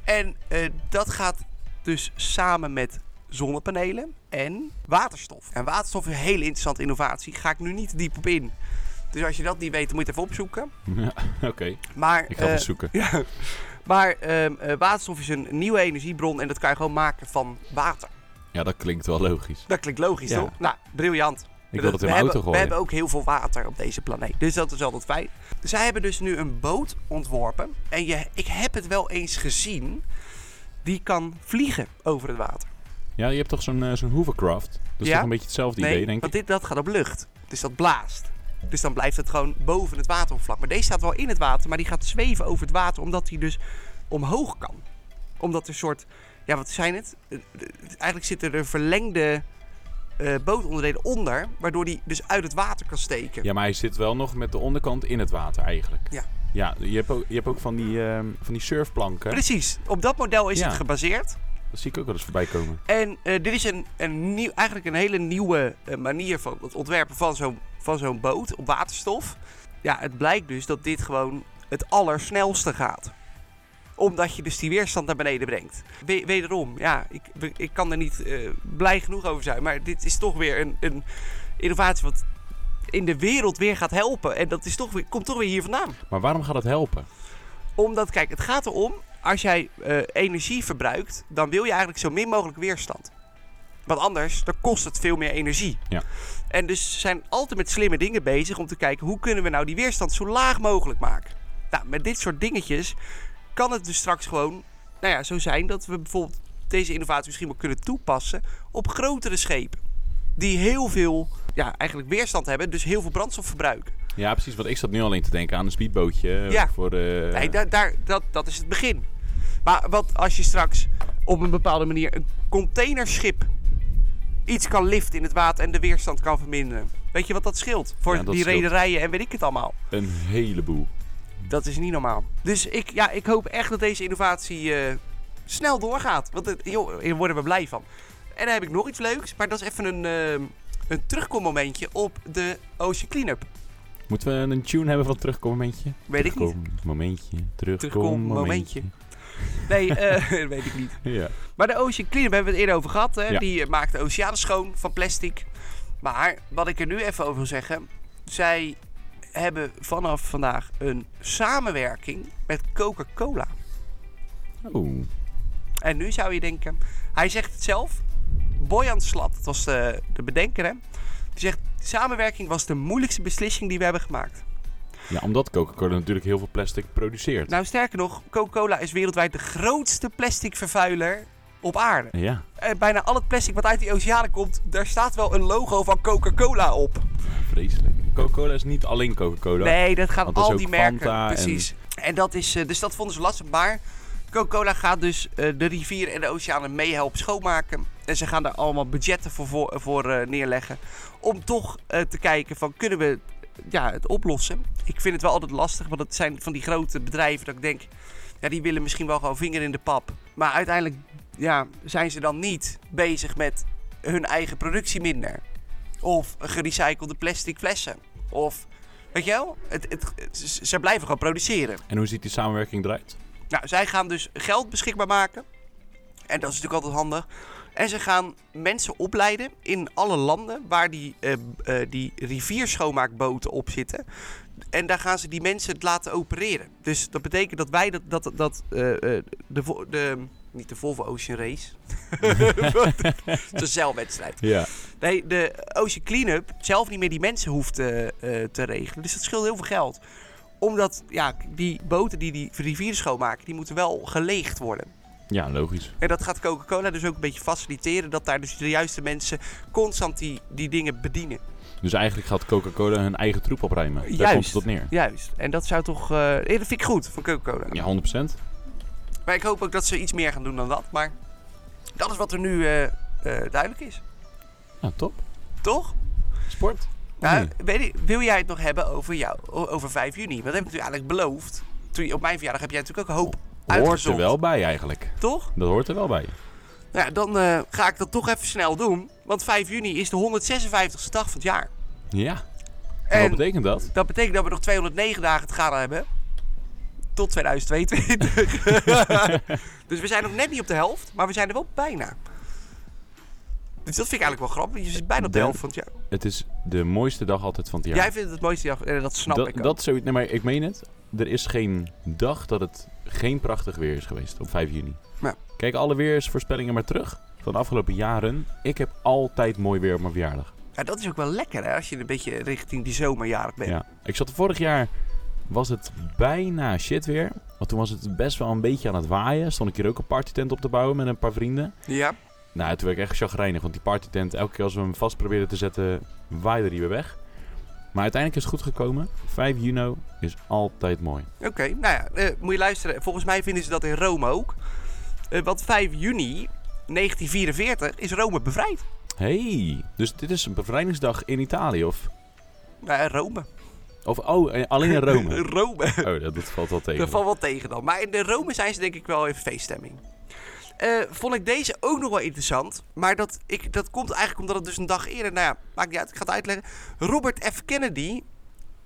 A: En eh, dat gaat dus samen met zonnepanelen en waterstof. En waterstof is een hele interessante innovatie. Ga ik nu niet diep op in. Dus als je dat niet weet, dan moet je het even opzoeken.
B: Ja, Oké,
A: Maar
B: ik ga
A: eh,
B: het zoeken.
A: ja. Maar ehm, eh, waterstof is een nieuwe energiebron en dat kan je gewoon maken van water.
B: Ja, dat klinkt wel logisch.
A: Dat klinkt logisch,
B: Ja.
A: toch? Nou, briljant.
B: Ik wil dat in
A: we
B: mijn
A: hebben,
B: auto
A: We
B: gooien.
A: hebben ook heel veel water op deze planeet. Dus dat is altijd fijn. Zij hebben dus nu een boot ontworpen. En je, ik heb het wel eens gezien. Die kan vliegen over het water.
B: Ja, je hebt toch zo'n eh, zo'n hovercraft? Dat is
A: Ja.
B: toch een beetje hetzelfde idee, denk ik?
A: want dit, dat gaat op lucht. Dus dat blaast. Dus dan blijft het gewoon boven het wateroppervlak. Maar deze staat wel in het water, maar die gaat zweven over het water... omdat hij dus omhoog kan. Omdat er een soort... Ja, wat zijn het? Eh, eh, Eigenlijk zitten er verlengde eh, bootonderdelen onder... waardoor die dus uit het water kan steken.
B: Ja, maar hij zit wel nog met de onderkant in het water eigenlijk.
A: Ja.
B: Ja, je hebt ook, je hebt ook van, die, ehm, van die surfplanken.
A: Precies. Op dat model is
B: Ja.
A: het gebaseerd.
B: Dat zie ik ook wel eens voorbij komen.
A: En eh, dit is een, een nieuw, eigenlijk een hele nieuwe eh, manier van het ontwerpen van zo'n van zo'n boot op waterstof. Ja, het blijkt dus dat dit gewoon het allersnelste gaat. Omdat je dus die weerstand naar beneden brengt. We- wederom, ja, ik, we- ik kan er niet eh, blij genoeg over zijn. Maar dit is toch weer een, een innovatie wat in de wereld weer gaat helpen. En dat is toch weer, komt toch weer hier vandaan.
B: Maar waarom gaat dat helpen?
A: Omdat, kijk, het gaat erom, als jij eh, energie verbruikt, dan wil je eigenlijk zo min mogelijk weerstand. Want anders, dan kost het veel meer energie.
B: Ja.
A: En dus ze zijn altijd met slimme dingen bezig om te kijken hoe kunnen we nou die weerstand zo laag mogelijk maken. Nou, met dit soort dingetjes kan het dus straks gewoon nou ja, zo zijn dat we bijvoorbeeld deze innovatie misschien wel kunnen toepassen op grotere schepen. Die heel veel ja, eigenlijk weerstand hebben, dus heel veel brandstof verbruiken.
B: Ja, precies. Want ik zat nu alleen te denken aan een speedbootje.
A: Ja.
B: Voor, eh,
A: Nee, da- daar, dat, dat is het begin. Maar wat als je straks op een bepaalde manier een containerschip iets kan liften in het water en de weerstand kan verminderen? Weet je wat dat scheelt? Voor
B: Ja, dat
A: die
B: scheelt.
A: rederijen en weet ik het allemaal.
B: Een heleboel.
A: Dat is niet normaal. Dus ik, ja, ik hoop echt dat deze innovatie eh, snel doorgaat. Want het, joh, hier worden we blij van. En dan heb ik nog iets leuks, maar dat is even een, ehm, een terugkommomentje op de Ocean Cleanup.
B: Moeten we een tune hebben van terugkommomentje?
A: Weet ik niet.
B: Momentje.
A: Terugkom, momentje. Nee, eh, dat weet ik niet.
B: Ja.
A: Maar de Ocean Cleanup hebben we het eerder over gehad. Hè?
B: Ja.
A: Die eh, maakt de oceanen schoon van plastic. Maar wat ik er nu even over wil zeggen. Zij hebben vanaf vandaag een samenwerking met Coca-Cola.
B: Oeh.
A: En nu zou je denken... Hij zegt het zelf. Boyan Slat, dat was de, de bedenker hè. Die zegt, samenwerking was de moeilijkste beslissing die we hebben gemaakt.
B: Ja, omdat Coca-Cola natuurlijk heel veel plastic produceert.
A: Nou sterker nog, Coca-Cola is wereldwijd de grootste plastic vervuiler op aarde.
B: Ja,
A: Eh, bijna al het plastic wat uit die oceanen komt, daar staat wel een logo van Coca-Cola op.
B: vreselijk. Coca-Cola is niet alleen Coca-Cola.
A: Nee, dat gaan
B: Want dat is
A: al
B: ook
A: die merken.
B: Fanta en-
A: precies. En, dat is, eh, dus dat vonden ze lastig. Maar Coca-Cola gaat dus eh, de rivieren en de oceanen meehelpen schoonmaken. En ze gaan daar allemaal budgetten voor, voor, voor, eh, neerleggen. Om toch eh, te kijken van kunnen we ja, het oplossen. Ik vind het wel altijd lastig, want het zijn van die grote bedrijven dat ik denk... Ja, die willen misschien wel gewoon vinger in de pap. Maar uiteindelijk ja, zijn ze dan niet bezig met hun eigen productie minder. Of gerecyclede plastic flessen. Of, weet je wel, het, het, z- ze blijven gewoon produceren.
B: En hoe ziet die samenwerking eruit?
A: Nou, zij gaan dus geld beschikbaar maken. En dat is natuurlijk altijd handig. En ze gaan mensen opleiden in alle landen waar die, eh, b- eh, die rivierschoonmaakboten op zitten. En daar gaan ze die mensen het laten opereren. Dus dat betekent dat wij dat, dat, dat eh, eh, de, vo- de, niet de Volvo Ocean Race. het is een zeilwedstrijd.
B: Ja.
A: Nee, de Ocean Cleanup zelf niet meer die mensen hoeft eh, eh, te regelen. Dus dat scheelt heel veel geld. Omdat ja, die boten die die rivieren schoonmaken, die moeten wel geleegd worden.
B: Ja, logisch.
A: En dat gaat Coca-Cola dus ook een beetje faciliteren. Dat daar dus de juiste mensen constant die, die dingen bedienen.
B: Dus eigenlijk gaat Coca-Cola hun eigen troep opruimen. Daar
A: Juist.
B: komt het op neer.
A: Juist. En dat zou toch... eh, ja, dat vind ik goed van Coca-Cola.
B: Ja, 100%.
A: Maar ik hoop ook dat ze iets meer gaan doen dan dat. Maar dat is wat er nu eh, eh, duidelijk is.
B: Ja, top.
A: Toch?
B: Sport.
A: Nou,
B: Nee.
A: weet ik- wil jij het nog hebben over jou, o- over 5 juni? Want dat heb ik natuurlijk eigenlijk beloofd. Toen, je- op mijn verjaardag heb jij natuurlijk ook een hoop
B: Hoort
A: uitgezocht.
B: er wel bij eigenlijk.
A: Toch?
B: Dat hoort er wel bij.
A: Nou, ja, dan eh, ga ik dat toch even snel doen. Want 5 juni is de 156ste dag van het jaar.
B: Ja. En... Wat
A: En
B: betekent dat?
A: dat betekent dat we nog 209 dagen te gaan hebben. Tot 2022. dus we zijn nog net niet op de helft, maar we zijn er wel bijna. Dus dat vind ik eigenlijk wel grappig. Je zit bijna op de
B: Dan-
A: helft van het jaar.
B: Het is de mooiste dag altijd van het jaar.
A: Jij vindt het het mooiste dag, en dat snap
B: dat,
A: ik ook.
B: dat zoiets. Nee, maar ik meen het. Er is geen dag dat het geen prachtig weer is geweest op 5 juni.
A: Ja.
B: Kijk alle weersvoorspellingen maar terug van de afgelopen jaren. Ik heb altijd mooi weer op mijn verjaardag.
A: Ja, dat is ook wel lekker hè, als je een beetje richting die zomerjarig bent.
B: Ja. Ik zat vorig jaar, was het bijna shit weer. Want toen was het best wel een beetje aan het waaien. Stond ik hier ook een partytent op te bouwen met een paar vrienden.
A: Ja.
B: Nou, toen werd ik echt chagrijnig. Want die partytent, elke keer als we hem vast probeerden te zetten, waaide die weer weg. Maar uiteindelijk is het goed gekomen. 5 juni is altijd mooi.
A: Oké, nou ja, eh, moet je luisteren. Volgens mij vinden ze dat in Rome ook. Eh, want 5 juni 1944 is Rome bevrijd.
B: Hey, dus dit is een bevrijdingsdag in Italië of?
A: Nou, eh, Rome.
B: Of oh, eh, alleen in Rome.
A: Rome.
B: Oh, dat, dat valt wel tegen.
A: Dat valt wel tegen dan. Maar in de Rome zijn ze denk ik wel in feeststemming. Eh, vond ik deze ook nog wel interessant. Maar dat, ik, dat komt eigenlijk omdat het dus een dag eerder... Nou ja, maakt niet uit. Ik ga het uitleggen. Robert F. Kennedy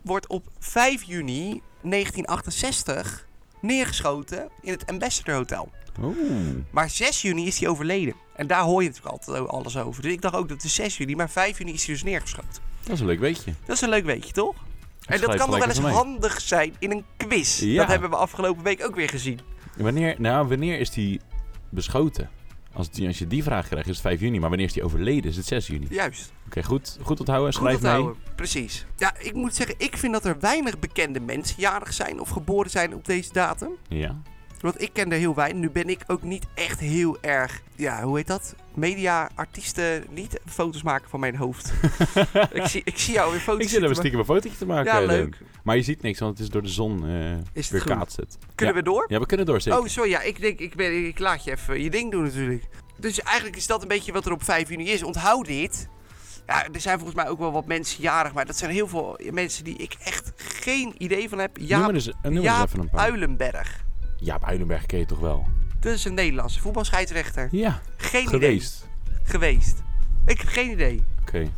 A: wordt op 5 juni 1968 neergeschoten in het Ambassador Hotel.
B: Oeh.
A: Maar 6 juni is hij overleden. En daar hoor je natuurlijk altijd o- alles over. Dus ik dacht ook dat het is 6 juni, maar 5 juni is hij dus neergeschoten.
B: Dat is een leuk weetje.
A: Dat is een leuk weetje, toch? En dat
B: schrijf
A: kan nog wel
B: gelijk
A: eens
B: even mee.
A: handig zijn in een quiz.
B: Ja.
A: Dat hebben we afgelopen week ook weer gezien.
B: Wanneer, nou, wanneer is die beschoten? Als, die, als je die vraag krijgt, is het 5 juni. Maar wanneer is die overleden? Is het 6 juni? Oké,
A: Juist.
B: goed, goed onthouden. Schrijf
A: Goed onthouden. Precies. Ja, ik moet zeggen, ik vind dat er weinig bekende mensen jarig zijn of geboren zijn op deze datum.
B: mee. Ja.
A: Want ik ken er heel weinig. Nu ben ik ook niet echt heel erg. Ja, hoe heet dat? Media, artiesten, niet foto's maken van mijn hoofd. ik, zie, ik zie jou weer foto's.
B: Ik zit even
A: zitten,
B: stiekem een fotootje te maken.
A: maar- Ja,
B: eh,
A: leuk.
B: Dan. Maar je ziet niks, want het is door de zon eh
A: Is het groen?
B: weerkaatst. het.
A: Kunnen we door?
B: Ja, we kunnen door, zeker.
A: Oh, sorry. Ja, ik denk, ik, ben, ik laat je even je ding doen natuurlijk. Dus eigenlijk is dat een beetje wat er op 5 juni is. Onthoud dit. Ja, er zijn volgens mij ook wel wat mensen jarig, maar dat zijn heel veel mensen die ik echt geen idee van heb.
B: noem
A: Jaap,
B: er eens, eh, noem er eens
A: Jaap
B: even een paar.
A: Uilenberg.
B: Jaap Uilenberg ken je toch wel?
A: Dat is een Nederlandse voetbalscheidsrechter.
B: Ja,
A: Geen
B: geweest.
A: idee. Geweest. Ik heb geen idee.
B: Oké.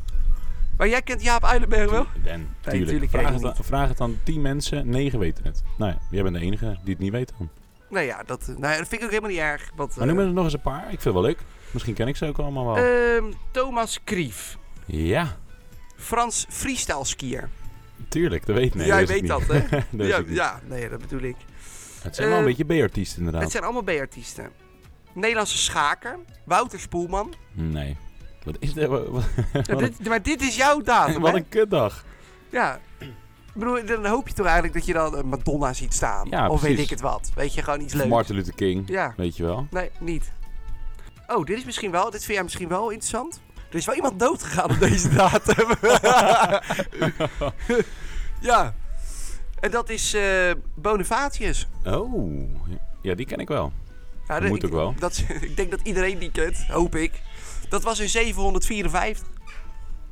A: Maar jij kent Jaap Uilenberg wel?
B: En tuurlijk.
A: tuurlijk
B: vraag, het
A: helemaal
B: aan, vraag het aan 10 mensen, 9 weten het. Nou ja, jij bent de enige die het niet weet dan.
A: Nou ja, dat, nou ja, dat vind ik ook helemaal niet erg. Want,
B: Maar
A: eh,
B: noem er nog eens een paar. Ik vind het wel leuk. Misschien ken ik ze ook allemaal wel.
A: ehm, Thomas Krief.
B: ja,
A: Frans freestyle skier.
B: tuurlijk. Dat weet nee,
A: jij
B: wist ik
A: weet
B: niet.
A: dat, hè?
B: Dat wist
A: ja,
B: ik niet.
A: ja, nee, dat bedoel ik.
B: Het zijn wel een beetje B-artiesten
A: Het
B: inderdaad.
A: zijn allemaal B-artiesten. Nederlandse schaker, Wouter Spoelman.
B: Nee. Wat is dit? Wat, wat-
A: Ja,
B: wat
A: dit, maar dit is jouw datum,
B: een, wat
A: hè?
B: een kutdag.
A: Ja. Ik bedoel, dan hoop je toch eigenlijk dat je dan eh, Madonna ziet staan.
B: Ja,
A: of weet
B: precies.
A: ik het wat. Weet je, gewoon iets leuks.
B: Martin Luther King.
A: Ja.
B: Weet je wel.
A: Nee, niet. Oh, dit is misschien wel, dit vind jij misschien wel interessant. Er is wel iemand doodgegaan op deze datum. ja. En dat is eh Bonifatius.
B: Oh. Ja, die ken ik wel.
A: Ja,
B: Moet
A: ik,
B: ook wel.
A: Dat, ik denk dat iedereen die kent, hoop ik. Dat was in 754.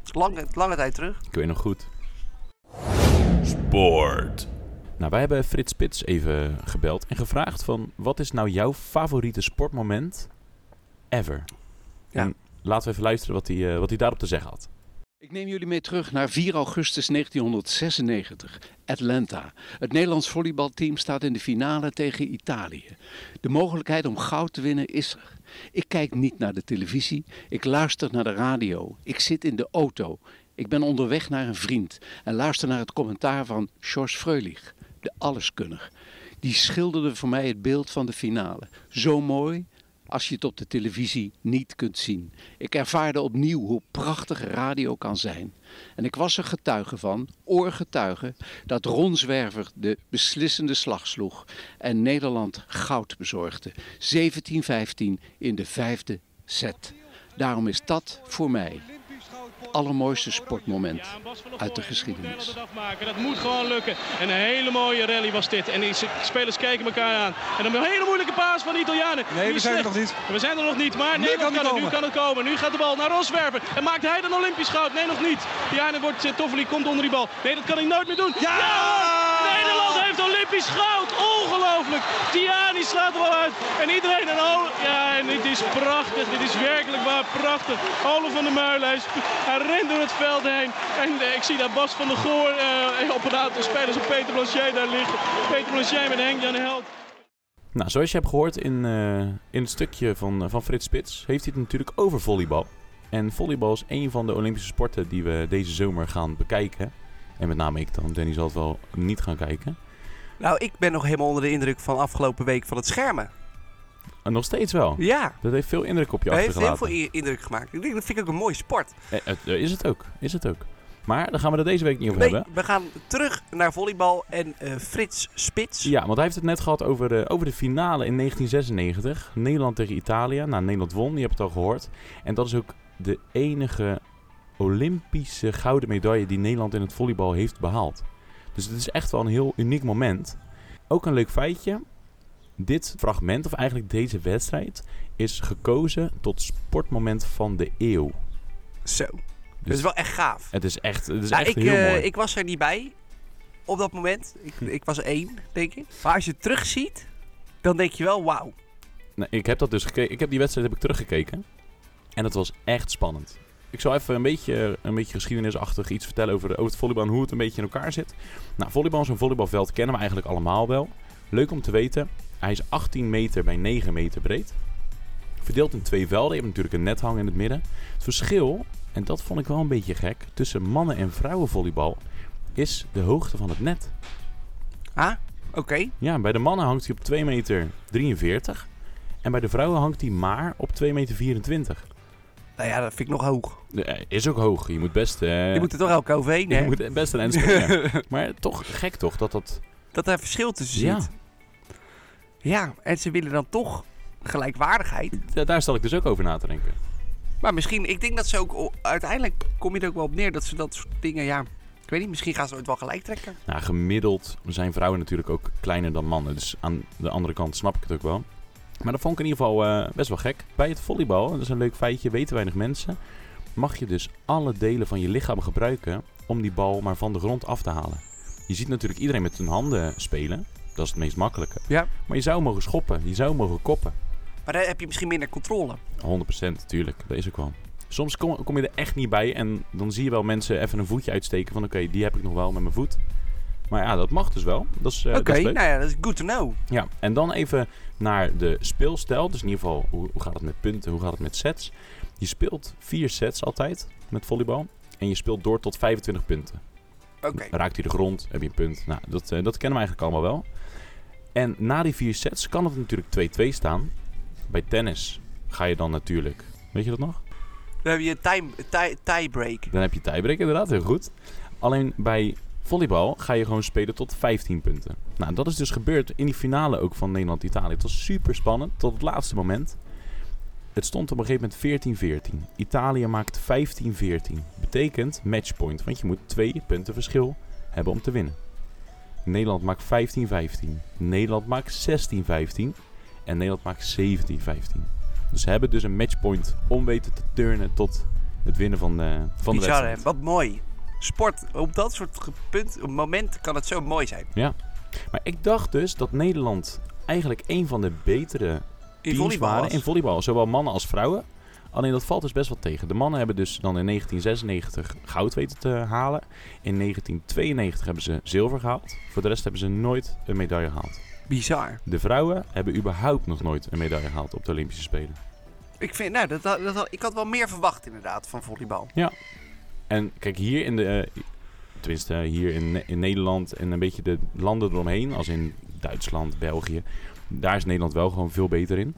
A: Lange, lange tijd terug.
B: Ik weet nog goed. Sport. Nou, wij hebben Frits Spits even gebeld en gevraagd van... wat is nou jouw favoriete sportmoment ever?
A: Ja.
B: En laten we even luisteren wat hij, eh, wat hij daarop te zeggen had.
D: Ik neem jullie mee terug naar 4 augustus 1996, Atlanta. Het Nederlands volleybalteam staat in de finale tegen Italië. De mogelijkheid om goud te winnen is er. Ik kijk niet naar de televisie, ik luister naar de radio, ik zit in de auto. Ik ben onderweg naar een vriend en luister naar het commentaar van George Freulich, de alleskunner. Die schilderde voor mij het beeld van de finale. Zo mooi, als je het op de televisie niet kunt zien. Ik ervaarde opnieuw hoe prachtig radio kan zijn. En ik was er getuige van, oorgetuige, dat Ron Zwerver de beslissende slag sloeg en Nederland goud bezorgde. 17-15 in de vijfde set. Daarom is dat voor mij het allermooiste sportmoment uit de
E: Perel
D: geschiedenis.
E: dat afmaken. Dat moet gewoon lukken. En een hele mooie rally was dit. En die spelers kijken elkaar aan. En dan een hele moeilijke paas van de Italianen.
F: Nee,
E: Die
F: we
E: is
F: zijn er nog
E: slecht.
F: niet.
E: We zijn er nog niet, maar
F: Nu
E: Nederland
F: kan
E: kan
F: die
E: het. Nu
F: komen.
E: kan het komen. Nu gaat de bal naar Roswerver. En maakt hij dan Olympisch goud? Nee, nog niet. Ja, en dan wordt eh, Toffoli komt onder die bal. Nee, dat kan hij nooit meer doen.
F: Ja!
E: hoor! Nederland heeft Olympisch goud. Ongelooflijk. Tiani slaat er wel uit. En iedereen en oh, Ja, en dit is prachtig. Dit is werkelijk waar prachtig. Olaf van der Muilen. Hij, is- hij rent door het veld heen. En eh, ik zie daar Bas van der Goor eh, op een aantal spelers. En Peter Blanchet daar liggen. Peter Blanchet met Henk-Jan Held.
B: Nou, zoals je hebt gehoord in, eh, in het stukje van, eh, van Frits Spits... heeft hij het natuurlijk over volleybal. En volleybal is een van de Olympische sporten die we deze zomer gaan bekijken. En met name ik dan. Danny zal het wel niet gaan kijken.
A: Nou, ik ben nog helemaal onder de indruk van afgelopen week van het schermen.
B: En nog steeds wel.
A: Ja.
B: Dat heeft veel indruk op je
A: Dat heeft heel
B: achtergelaten.
A: veel i- indruk gemaakt. Ik denk, dat vind ik ook een mooie sport.
B: Eh, het, eh, Is het ook, is het ook. Maar daar gaan we het deze week niet over
A: Nee,
B: hebben.
A: we gaan terug naar volleybal en eh, Frits Spits.
B: Ja, want hij heeft het net gehad over de, over de finale in 1996. Nederland tegen Italië. Nou, Nederland won, je hebt het al gehoord. En dat is ook de enige Olympische gouden medaille die Nederland in het volleybal heeft behaald. Dus het is echt wel een heel uniek moment. Ook een leuk feitje. Dit fragment, of eigenlijk deze wedstrijd, is gekozen tot sportmoment van de eeuw.
A: Zo. Dat is wel echt gaaf.
B: Het is echt, het is
A: Nou,
B: echt
A: ik,
B: heel
A: eh,
B: mooi.
A: ik was er niet bij op dat moment. Ik, ik was één, denk ik. Maar als je het terugziet, dan denk je wel, wauw.
B: Nou, ik heb dat dus gekeken. Ik heb die wedstrijd heb ik teruggekeken. En dat was echt spannend. Ik zal even een beetje, een beetje geschiedenisachtig iets vertellen over, over het volleybal en hoe het een beetje in elkaar zit. Nou, volleybal is een volleybalveld kennen we eigenlijk allemaal wel. Leuk om te weten, hij is 18 meter bij 9 meter breed. Verdeeld in twee velden. Je hebt natuurlijk een net hangen in het midden. Het verschil, en dat vond ik wel een beetje gek, tussen mannen- en vrouwenvolleybal is de hoogte van het net.
A: Ah, oké.
B: Ja, bij de mannen hangt hij op 2,43 meter. En bij de vrouwen hangt hij maar op 2,24 meter.
A: Nou ja, dat vind ik nog hoog.
B: Eh, Is ook hoog. Je moet best... eh,
A: Je moet er toch elke overheen,
B: je
A: hè?
B: moet best een eind springen. Maar toch gek toch dat dat...
A: dat daar verschil tussen
B: Ja.
A: zit. Ja, en ze willen dan toch gelijkwaardigheid.
B: da- Daar zal ik dus ook over na te denken.
A: Maar misschien, ik denk dat ze ook o- uiteindelijk kom je er ook wel op neer dat ze dat soort dingen, ja, ik weet niet, misschien gaan ze ooit wel gelijk trekken.
B: Nou, gemiddeld zijn vrouwen natuurlijk ook kleiner dan mannen. Dus aan de andere kant snap ik het ook wel. Maar dat vond ik in ieder geval eh, best wel gek. Bij het volleybal, en dat is een leuk feitje, weten weinig mensen. Mag je dus alle delen van je lichaam gebruiken om die bal maar van de grond af te halen. Je ziet natuurlijk iedereen met hun handen spelen. Dat is het meest makkelijke.
A: Ja.
B: Maar je zou mogen schoppen, je zou mogen koppen.
A: Maar daar heb je misschien minder controle.
B: 100% tuurlijk, dat is ook wel. Soms kom, kom je er echt niet bij en dan zie je wel mensen even een voetje uitsteken van oké, die heb ik nog wel met mijn voet. Maar ja, dat mag dus wel. Dat is, eh,
A: Oké,
B: dat is leuk.
A: nou ja, dat is good to know.
B: Ja, en dan even naar de speelstijl. Dus in ieder geval, hoe, hoe gaat het met punten, hoe gaat het met sets? Je speelt vier sets altijd met volleybal. En je speelt door tot 25 punten.
A: Oké,
B: Raakt hij de grond, heb je een punt. Nou, dat, eh, dat kennen we eigenlijk allemaal wel. En na die vier sets kan het natuurlijk 2-2 staan. Bij tennis ga je dan natuurlijk... Weet je dat nog?
A: dan heb je een time, tie, tiebreak.
B: Dan heb je tiebreak inderdaad, heel goed. Alleen bij volleybal ga je gewoon spelen tot 15 punten. Nou, dat is dus gebeurd in die finale ook van Nederland-Italië. Het was super spannend tot het laatste moment. Het stond op een gegeven moment 14-14. Italië maakt 15-14. Betekent matchpoint, want je moet twee punten verschil hebben om te winnen. Nederland maakt 15-15. Nederland maakt 16-15. En Nederland maakt 17-15. Dus ze hebben dus een matchpoint om weten te turnen tot het winnen van de, van de
A: Bizar,
B: wedstrijd.
A: hè? Wat mooi. Sport, op dat soort ge- punt, op momenten kan het zo mooi zijn.
B: Maar ik dacht dus dat Nederland eigenlijk een van de betere
A: In
B: teams
A: volleybal.
B: waren
A: was-
B: in volleybal. Zowel mannen als vrouwen. Alleen dat valt dus best wel tegen. De mannen hebben dus dan in 1996 goud weten te halen. In 1992 hebben ze zilver gehaald. Voor de rest hebben ze nooit een medaille gehaald.
A: Bizar.
B: De vrouwen hebben überhaupt nog nooit een medaille gehaald op de Olympische Spelen.
A: Ik vind, nou, dat, dat, dat- ik had wel meer verwacht inderdaad van volleybal.
B: En kijk, hier in de... eh, tenminste, hier in, Ne- in Nederland en een beetje de landen eromheen. Als in Duitsland, België. Daar is Nederland wel gewoon veel beter in.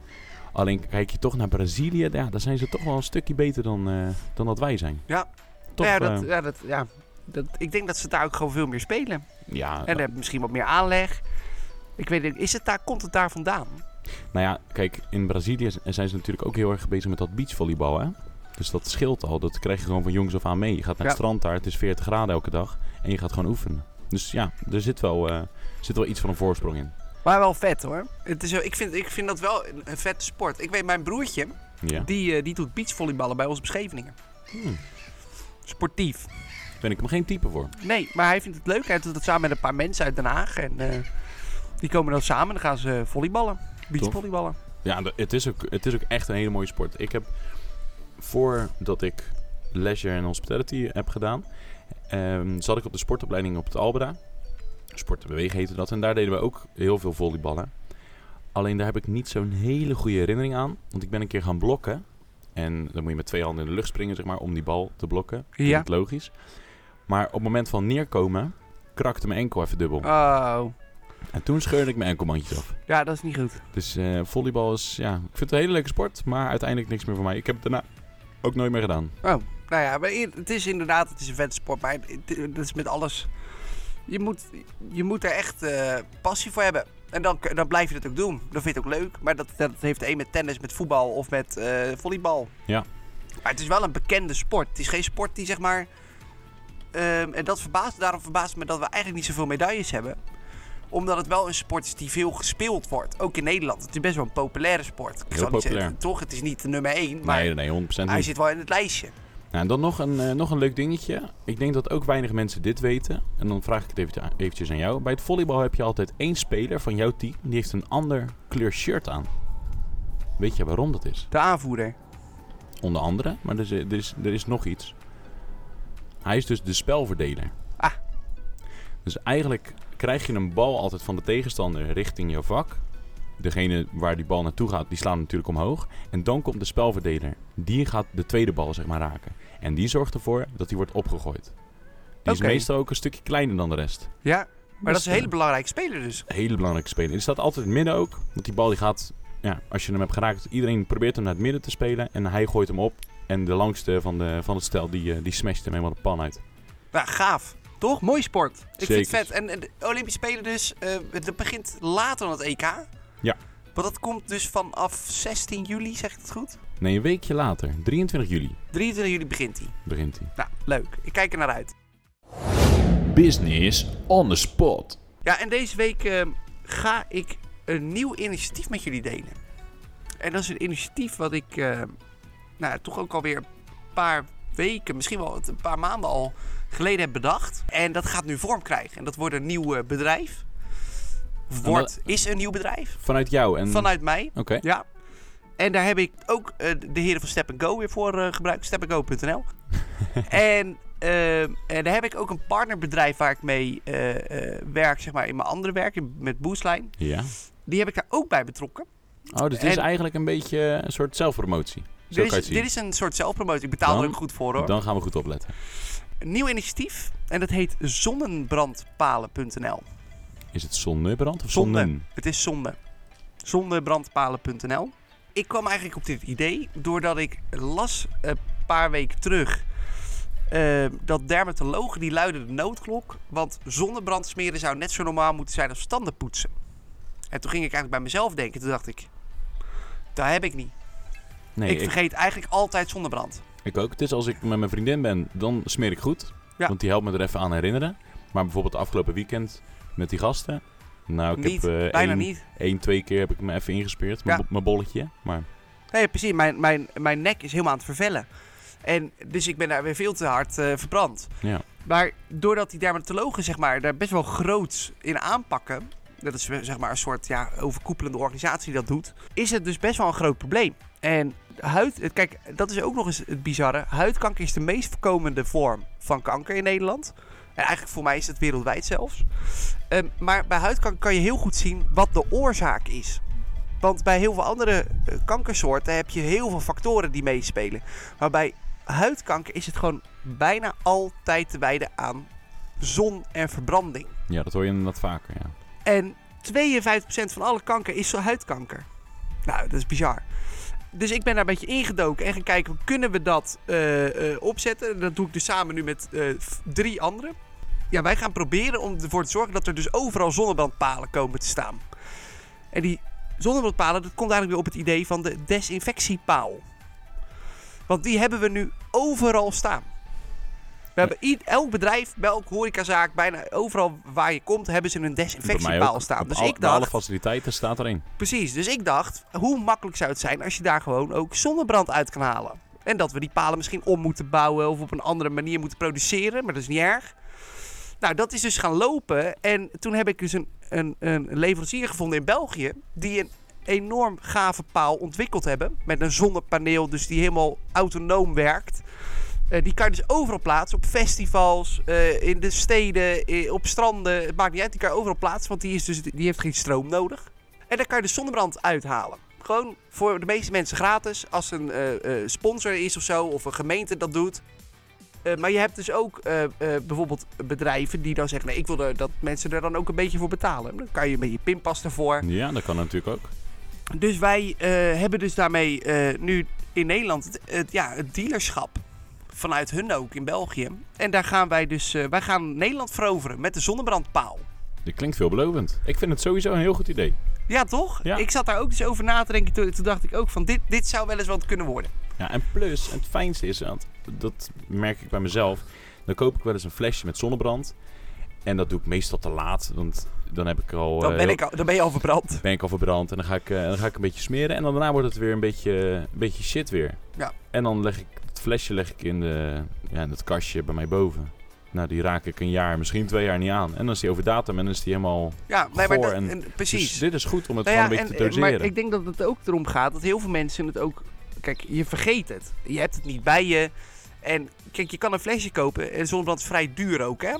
B: Alleen kijk je toch naar Brazilië. Ja, daar zijn ze toch wel een stukje beter dan, eh, dan dat wij zijn.
A: Ja.
B: Toch,
A: ja,
B: eh,
A: dat, ja, dat, ja. Dat, ik denk dat ze daar ook gewoon veel meer spelen.
B: Ja,
A: En hebben misschien wat meer aanleg. Ik weet niet, is het daar, komt het daar vandaan?
B: nou ja, kijk, in Brazilië z- zijn ze natuurlijk ook heel erg bezig met dat beachvolleybal, hè? Dus dat scheelt al. Dat krijg je gewoon van jongs af aan mee. Je gaat naar het
A: Ja.
B: strand daar, het is 40 graden elke dag. En je gaat gewoon oefenen. Dus ja, er zit wel, eh, zit wel iets van een voorsprong in.
A: Maar wel vet hoor. Het is, wel- ik, vind, ik vind dat wel een, een vette sport. Ik weet, mijn broertje,
B: Ja.
A: die, eh, die doet beachvolleyballen bij ons op Scheveningen.
B: Hmm.
A: Sportief.
B: Ben ik hem geen type voor.
A: Nee, maar hij vindt het leuk. Hij doet dat samen met een paar mensen uit Den Haag. En eh, die komen dan samen en dan gaan ze volleyballen. Beachvolleyballen.
B: Ja, de- het is, ook, het is ook echt een hele mooie sport. Ik heb, voordat ik leisure en hospitality heb gedaan, ehm, zat ik op de sportopleiding op het Albeda. Sport en bewegen heette dat. En daar deden we ook heel veel volleyballen. Alleen daar heb ik niet zo'n hele goede herinnering aan. Want ik ben een keer gaan blokken. En dan moet je met twee handen in de lucht springen, zeg maar, om die bal te blokken.
A: Ja.
B: Klinkt logisch. Maar op het moment van neerkomen, krakte mijn enkel even dubbel.
A: Oh,
B: En toen scheurde ik mijn enkelbandjes af.
A: ja, dat is niet goed.
B: Dus eh, volleybal is, ja, ik vind het een hele leuke sport, maar uiteindelijk niks meer voor mij. Ik heb het daarna ook nooit meer gedaan.
A: Nou ja, maar i- het is inderdaad, het is een vette sport. Maar het- dat is met alles. Je moet, je moet er echt eh, passie voor hebben. En dan, k- dan blijf je dat ook doen. Dan vind je het ook leuk. Maar dat, dat heeft de een met tennis, met voetbal of met eh, volleybal.
B: Ja.
A: Maar het is wel een bekende sport. Het is geen sport die zeg maar... ehm, en dat verbaast, daarom verbaast het me dat we eigenlijk niet zoveel medailles hebben. Omdat het wel een sport is die veel gespeeld wordt. Ook in Nederland. Het is best wel een populaire sport. Ik
B: Heel
A: zal niet zeggen-
B: populair.
A: toch, het is niet de nummer één. Maar
B: nee, nee, 100%
A: hij
B: niet.
A: zit wel in het lijstje.
B: Nou, en dan nog een, eh, nog een leuk dingetje. Ik denk dat ook weinig mensen dit weten. En dan vraag ik het eventje- eventjes aan jou. Bij het volleybal heb je altijd één speler van jouw team, die heeft een ander kleur shirt aan. Weet je waarom dat is?
A: De aanvoerder.
B: Onder andere, maar er is, er is, er is nog iets. Hij is dus de spelverdeler.
A: Ah.
B: Dus eigenlijk krijg je een bal altijd van de tegenstander richting jouw vak. Degene waar die bal naartoe gaat, die slaan natuurlijk omhoog. En dan komt de spelverdeler. Die gaat de tweede bal zeg maar raken. En die zorgt ervoor dat die wordt opgegooid.
A: Oké.
B: Die is meestal ook een stukje kleiner dan de rest.
A: Ja, maar dat is een
B: eh,
A: hele belangrijke speler dus.
B: Hele belangrijke speler. Die staat altijd in het midden ook. Want die bal die gaat ja, als je hem hebt geraakt, iedereen probeert hem naar het midden te spelen. En hij gooit hem op. En de langste van, de, van het stel, die, eh, die smasht hem helemaal de pan uit.
A: Nou, gaaf. Toch? Mooi sport. Ik vind het
B: Zeker.
A: vet. En eh, de Olympische Spelen dus, eh, dat begint later dan het EK.
B: Ja.
A: Want dat komt dus vanaf 16 juli, zeg ik het goed?
B: Nee, een weekje later, 23 juli,
A: 23 juli begint hij.
B: begint hij.
A: Nou, leuk. Ik kijk er naar uit.
B: Business on the spot.
A: Ja, en deze week eh, ga ik een nieuw initiatief met jullie delen. En dat is een initiatief wat ik eh, nou, ja, toch ook alweer een paar weken, misschien wel een paar maanden al geleden heb bedacht. En dat gaat nu vorm krijgen. En dat wordt een nieuw eh, bedrijf. Wordt, is een nieuw bedrijf.
B: Vanuit jou en...
A: Vanuit mij.
B: Oké,
A: Ja. En daar heb ik ook eh, de heren van Step Go weer voor eh, gebruikt. stepandgo.nl en, eh, en daar heb ik ook een partnerbedrijf waar ik mee eh, eh, werk, zeg maar, in mijn andere werk, in- met Boostline.
B: ja.
A: Die heb ik daar ook bij betrokken.
B: Oh, dus dit is
A: En-
B: eigenlijk een beetje een soort zelfpromotie. Zo
A: Dit
B: kan je het
A: is,
B: zien.
A: dit is een soort zelfpromotie. Ik betaal er
B: Dan-
A: ook goed voor hoor.
B: Dan gaan we goed opletten.
A: Een nieuw initiatief. En dat heet zonnebrandpalen.nl.
B: Is het zonnebrand of
A: Zonne.
B: zonnen?
A: Het is zonde. Zondebrandpalen.nl. Ik kwam eigenlijk op dit idee doordat ik las een paar weken terug eh, dat dermatologen die luiden de noodklok, want zonnebrand smeren zou net zo normaal moeten zijn als tanden poetsen. En toen ging ik eigenlijk bij mezelf denken. Toen dacht ik, dat heb ik niet.
B: Nee,
A: ik
B: ik,
A: vergeet eigenlijk altijd zonnebrand.
B: ik ook. Dus als ik met mijn vriendin ben, dan smeer ik goed.
A: Ja.
B: Want die helpt me er even aan herinneren. Maar bijvoorbeeld afgelopen weekend met die gasten. Nou, ik
A: niet,
B: heb eh,
A: bijna
B: één,
A: niet.
B: één, twee keer heb ik me even ingespeerd.
A: Ja.
B: Mijn bo- Mijn bolletje. Maar
A: Nee, precies. Mijn, mijn, mijn nek is helemaal aan het vervellen. En dus ik ben daar weer veel te hard eh, verbrand.
B: Ja.
A: Maar doordat die dermatologen zeg maar, daar best wel groot in aanpakken... dat is eh, zeg maar, een soort ja, overkoepelende organisatie die dat doet... is het dus best wel een groot probleem. En huid... eh, Kijk, dat is ook nog eens het bizarre. Huidkanker is de meest voorkomende vorm van kanker in Nederland. En eigenlijk voor mij is het wereldwijd zelfs. Ehm, maar bij huidkanker kan je heel goed zien wat de oorzaak is. Want bij heel veel andere eh, kankersoorten heb je heel veel factoren die meespelen. Maar bij huidkanker is het gewoon bijna altijd te wijden aan zon en verbranding.
B: ja, dat hoor je inderdaad vaker. Ja.
A: En 52% van alle kanker is zo huidkanker. Nou, dat is bizar. Dus ik ben daar een beetje ingedoken en gaan kijken, kunnen we dat eh, eh, opzetten? En Dat doe ik dus samen nu met eh, f- drie anderen. Ja, wij gaan proberen om ervoor te zorgen dat er dus overal zonnebrandpalen komen te staan. En die zonnebrandpalen, dat komt eigenlijk weer op het idee van de desinfectiepaal. Want die hebben we nu overal staan. We hebben ied- elk bedrijf, bij elk horecazaak, bijna overal waar je komt, hebben ze een
B: Bij
A: desinfectiepaal
B: mij ook.
A: staan.
B: Op
A: Dus
B: al-
A: ik
B: bij alle
A: dacht,
B: faciliteiten staat er één.
A: Precies, dus ik dacht, hoe makkelijk zou het zijn als je daar gewoon ook zonnebrand uit kan halen? En dat we die palen misschien om moeten bouwen of op een andere manier moeten produceren, maar dat is niet erg. Nou, dat is dus gaan lopen en toen heb ik dus een, een, een leverancier gevonden in België die een enorm gave paal ontwikkeld hebben met een zonnepaneel, dus die helemaal autonoom werkt. Eh, die kan je dus overal plaatsen, op festivals, eh, in de steden, eh, op stranden, het maakt niet uit, die kan je overal plaatsen, want die, is dus, die heeft geen stroom nodig. En daar kan je de zonnebrand uithalen. Gewoon voor de meeste mensen gratis. Als een eh, eh, sponsor is of zo, of een gemeente dat doet. Eh, maar je hebt dus ook eh, eh, bijvoorbeeld bedrijven die dan zeggen... Nee, ik wil er- dat mensen er dan ook een beetje voor betalen. Dan kan je met je pinpas ervoor.
B: Ja, dat kan natuurlijk ook.
A: Dus wij eh, hebben dus daarmee eh, nu in Nederland het, het- ja, het dealerschap. Vanuit hun ook in België. En daar gaan wij dus... eh, wij gaan Nederland veroveren met de zonnebrandpaal.
B: Dit klinkt veelbelovend. Ik vind het sowieso een heel goed idee.
A: Ja, toch?
B: Ja.
A: Ik zat daar ook dus over na te denken. Toen, toen dacht ik ook van dit, dit zou wel eens wat kunnen worden.
B: Ja, en plus, het fijnste is, want dat merk ik bij mezelf, dan koop ik wel eens een flesje met zonnebrand. En dat doe ik meestal te laat, want dan heb ik al...
A: Dan
B: eh,
A: ben,
B: heel-
A: ik al, dan ben je al verbrand.
B: ben ik al verbrand en dan ga ik, eh, dan ga ik een beetje smeren. En dan daarna wordt het weer een beetje, een beetje shit weer.
A: Ja.
B: En dan leg ik het flesje leg ik in, de, ja, in het kastje bij mij boven. Nou, die raak ik een jaar, misschien twee jaar niet aan. En dan is die over datum en dan is die helemaal...
A: Ja, nee, maar
B: Goor
A: dat,
B: en-
A: en, precies.
B: Dus dit is goed om het
A: Nou
B: gewoon
A: ja,
B: een beetje te
A: en- en-
B: doseren.
A: Maar ik denk dat het ook erom gaat dat heel veel mensen het ook... Kijk, je vergeet het. Je hebt het niet bij je. En kijk, je kan een flesje kopen. En zonnebrand is vrij duur ook, hè?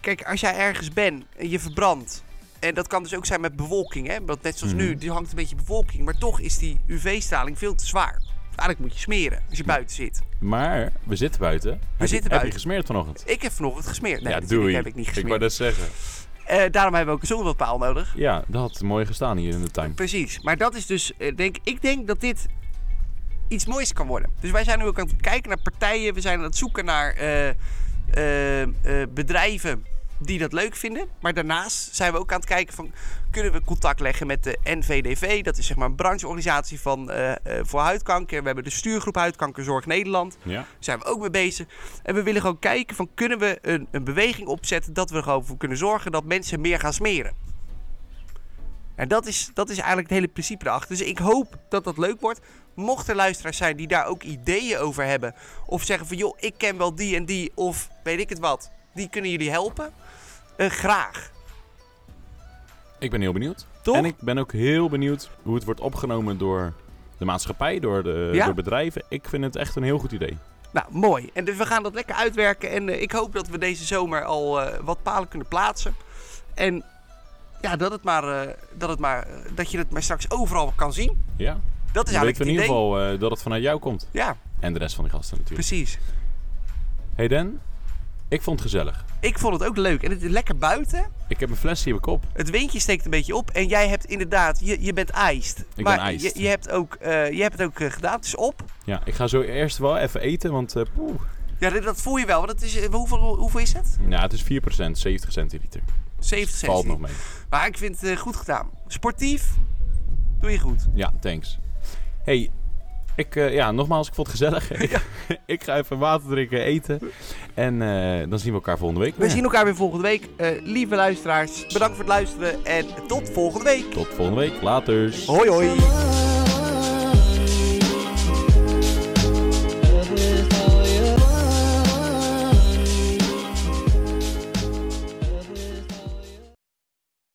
A: Kijk, als jij ergens bent en je verbrandt... En dat kan dus ook zijn met bewolking, hè? Want net zoals
B: Mhm.
A: nu, die hangt een beetje bewolking. Maar toch is die UV-straling veel te zwaar. Eigenlijk moet je smeren als je buiten zit.
B: Maar we zitten buiten. We
A: zitten
B: Heb je
A: buiten.
B: gesmeerd vanochtend?
A: Ik heb vanochtend gesmeerd. Nee,
B: ja,
A: natuurlijk
B: doei.
A: heb ik niet
B: Ik
A: gesmeerd.
B: wou dat zeggen.
A: Eh, Eh, daarom hebben we ook een zonnepaal nodig.
B: Ja, dat had mooi gestaan hier in de tuin.
A: Precies. Maar dat is dus, eh, denk, ik denk dat dit iets moois kan worden. Dus wij zijn nu ook aan het kijken naar partijen. We zijn aan het zoeken naar eh, eh, eh, bedrijven die dat leuk vinden. Maar daarnaast zijn we ook aan het kijken van... kunnen we contact leggen met de NVDV? Dat is zeg maar een brancheorganisatie van, eh, eh, voor huidkanker. We hebben de stuurgroep Huidkankerzorg Nederland.
B: Ja.
A: Daar zijn we ook mee bezig. En we willen gewoon kijken van kunnen we een, een beweging opzetten dat we er gewoon voor kunnen zorgen dat mensen meer gaan smeren. En dat is, dat is eigenlijk het hele principe erachter. Dus ik hoop dat dat leuk wordt. Mocht er luisteraars zijn die daar ook ideeën over hebben. Of zeggen van joh, ik ken wel die en die. Of weet ik het wat. Die kunnen jullie helpen. Eh, graag.
B: Ik ben heel benieuwd.
A: Toch?
B: En ik ben ook heel benieuwd hoe het wordt opgenomen door de maatschappij, door, de,
A: Ja?
B: door bedrijven. Ik vind het echt een heel goed idee.
A: Nou, mooi. En dus we gaan dat lekker uitwerken. En eh, ik hoop dat we deze zomer al eh, wat palen kunnen plaatsen. En ja, dat, het maar, eh, dat, het maar, eh, dat je het maar straks overal kan zien.
B: Ja.
A: Dat is
B: Dan
A: eigenlijk
B: weten we
A: het
B: Dus in ieder
A: idee.
B: geval eh, dat het vanuit jou komt.
A: Ja,
B: En de rest van de gasten natuurlijk.
A: precies.
B: Hey Dan, ik vond het gezellig.
A: Ik vond het ook leuk. En het is lekker buiten.
B: Ik heb een fles hier op mijn kop.
A: Het windje steekt een beetje op. En jij hebt inderdaad, je, je bent iced.
B: ben
A: maar
B: iced.
A: Je, je, hebt ook, eh, je hebt het ook eh, gedaan. Het is op.
B: Ja, ik ga zo eerst wel even eten, want eh poeh.
A: Ja, dit- dat voel je wel. Want het is, eh, hoeveel, hoeveel is het?
B: Nou, het is 4%, 70 centiliter.
A: 70 cent.
B: Valt nog mee.
A: Maar ik vind het eh, goed gedaan. Sportief, doe je goed.
B: Ja, thanks. Hey, ik, eh, ja, nogmaals, ik vond het gezellig. Ik, ik ga even water drinken, eten. En eh, dan zien we elkaar volgende week
A: We
B: weer.
A: zien elkaar weer volgende week. Eh, lieve luisteraars, bedankt voor het luisteren en tot volgende week.
B: Tot volgende week. Later.
A: Hoi hoi.
F: Someone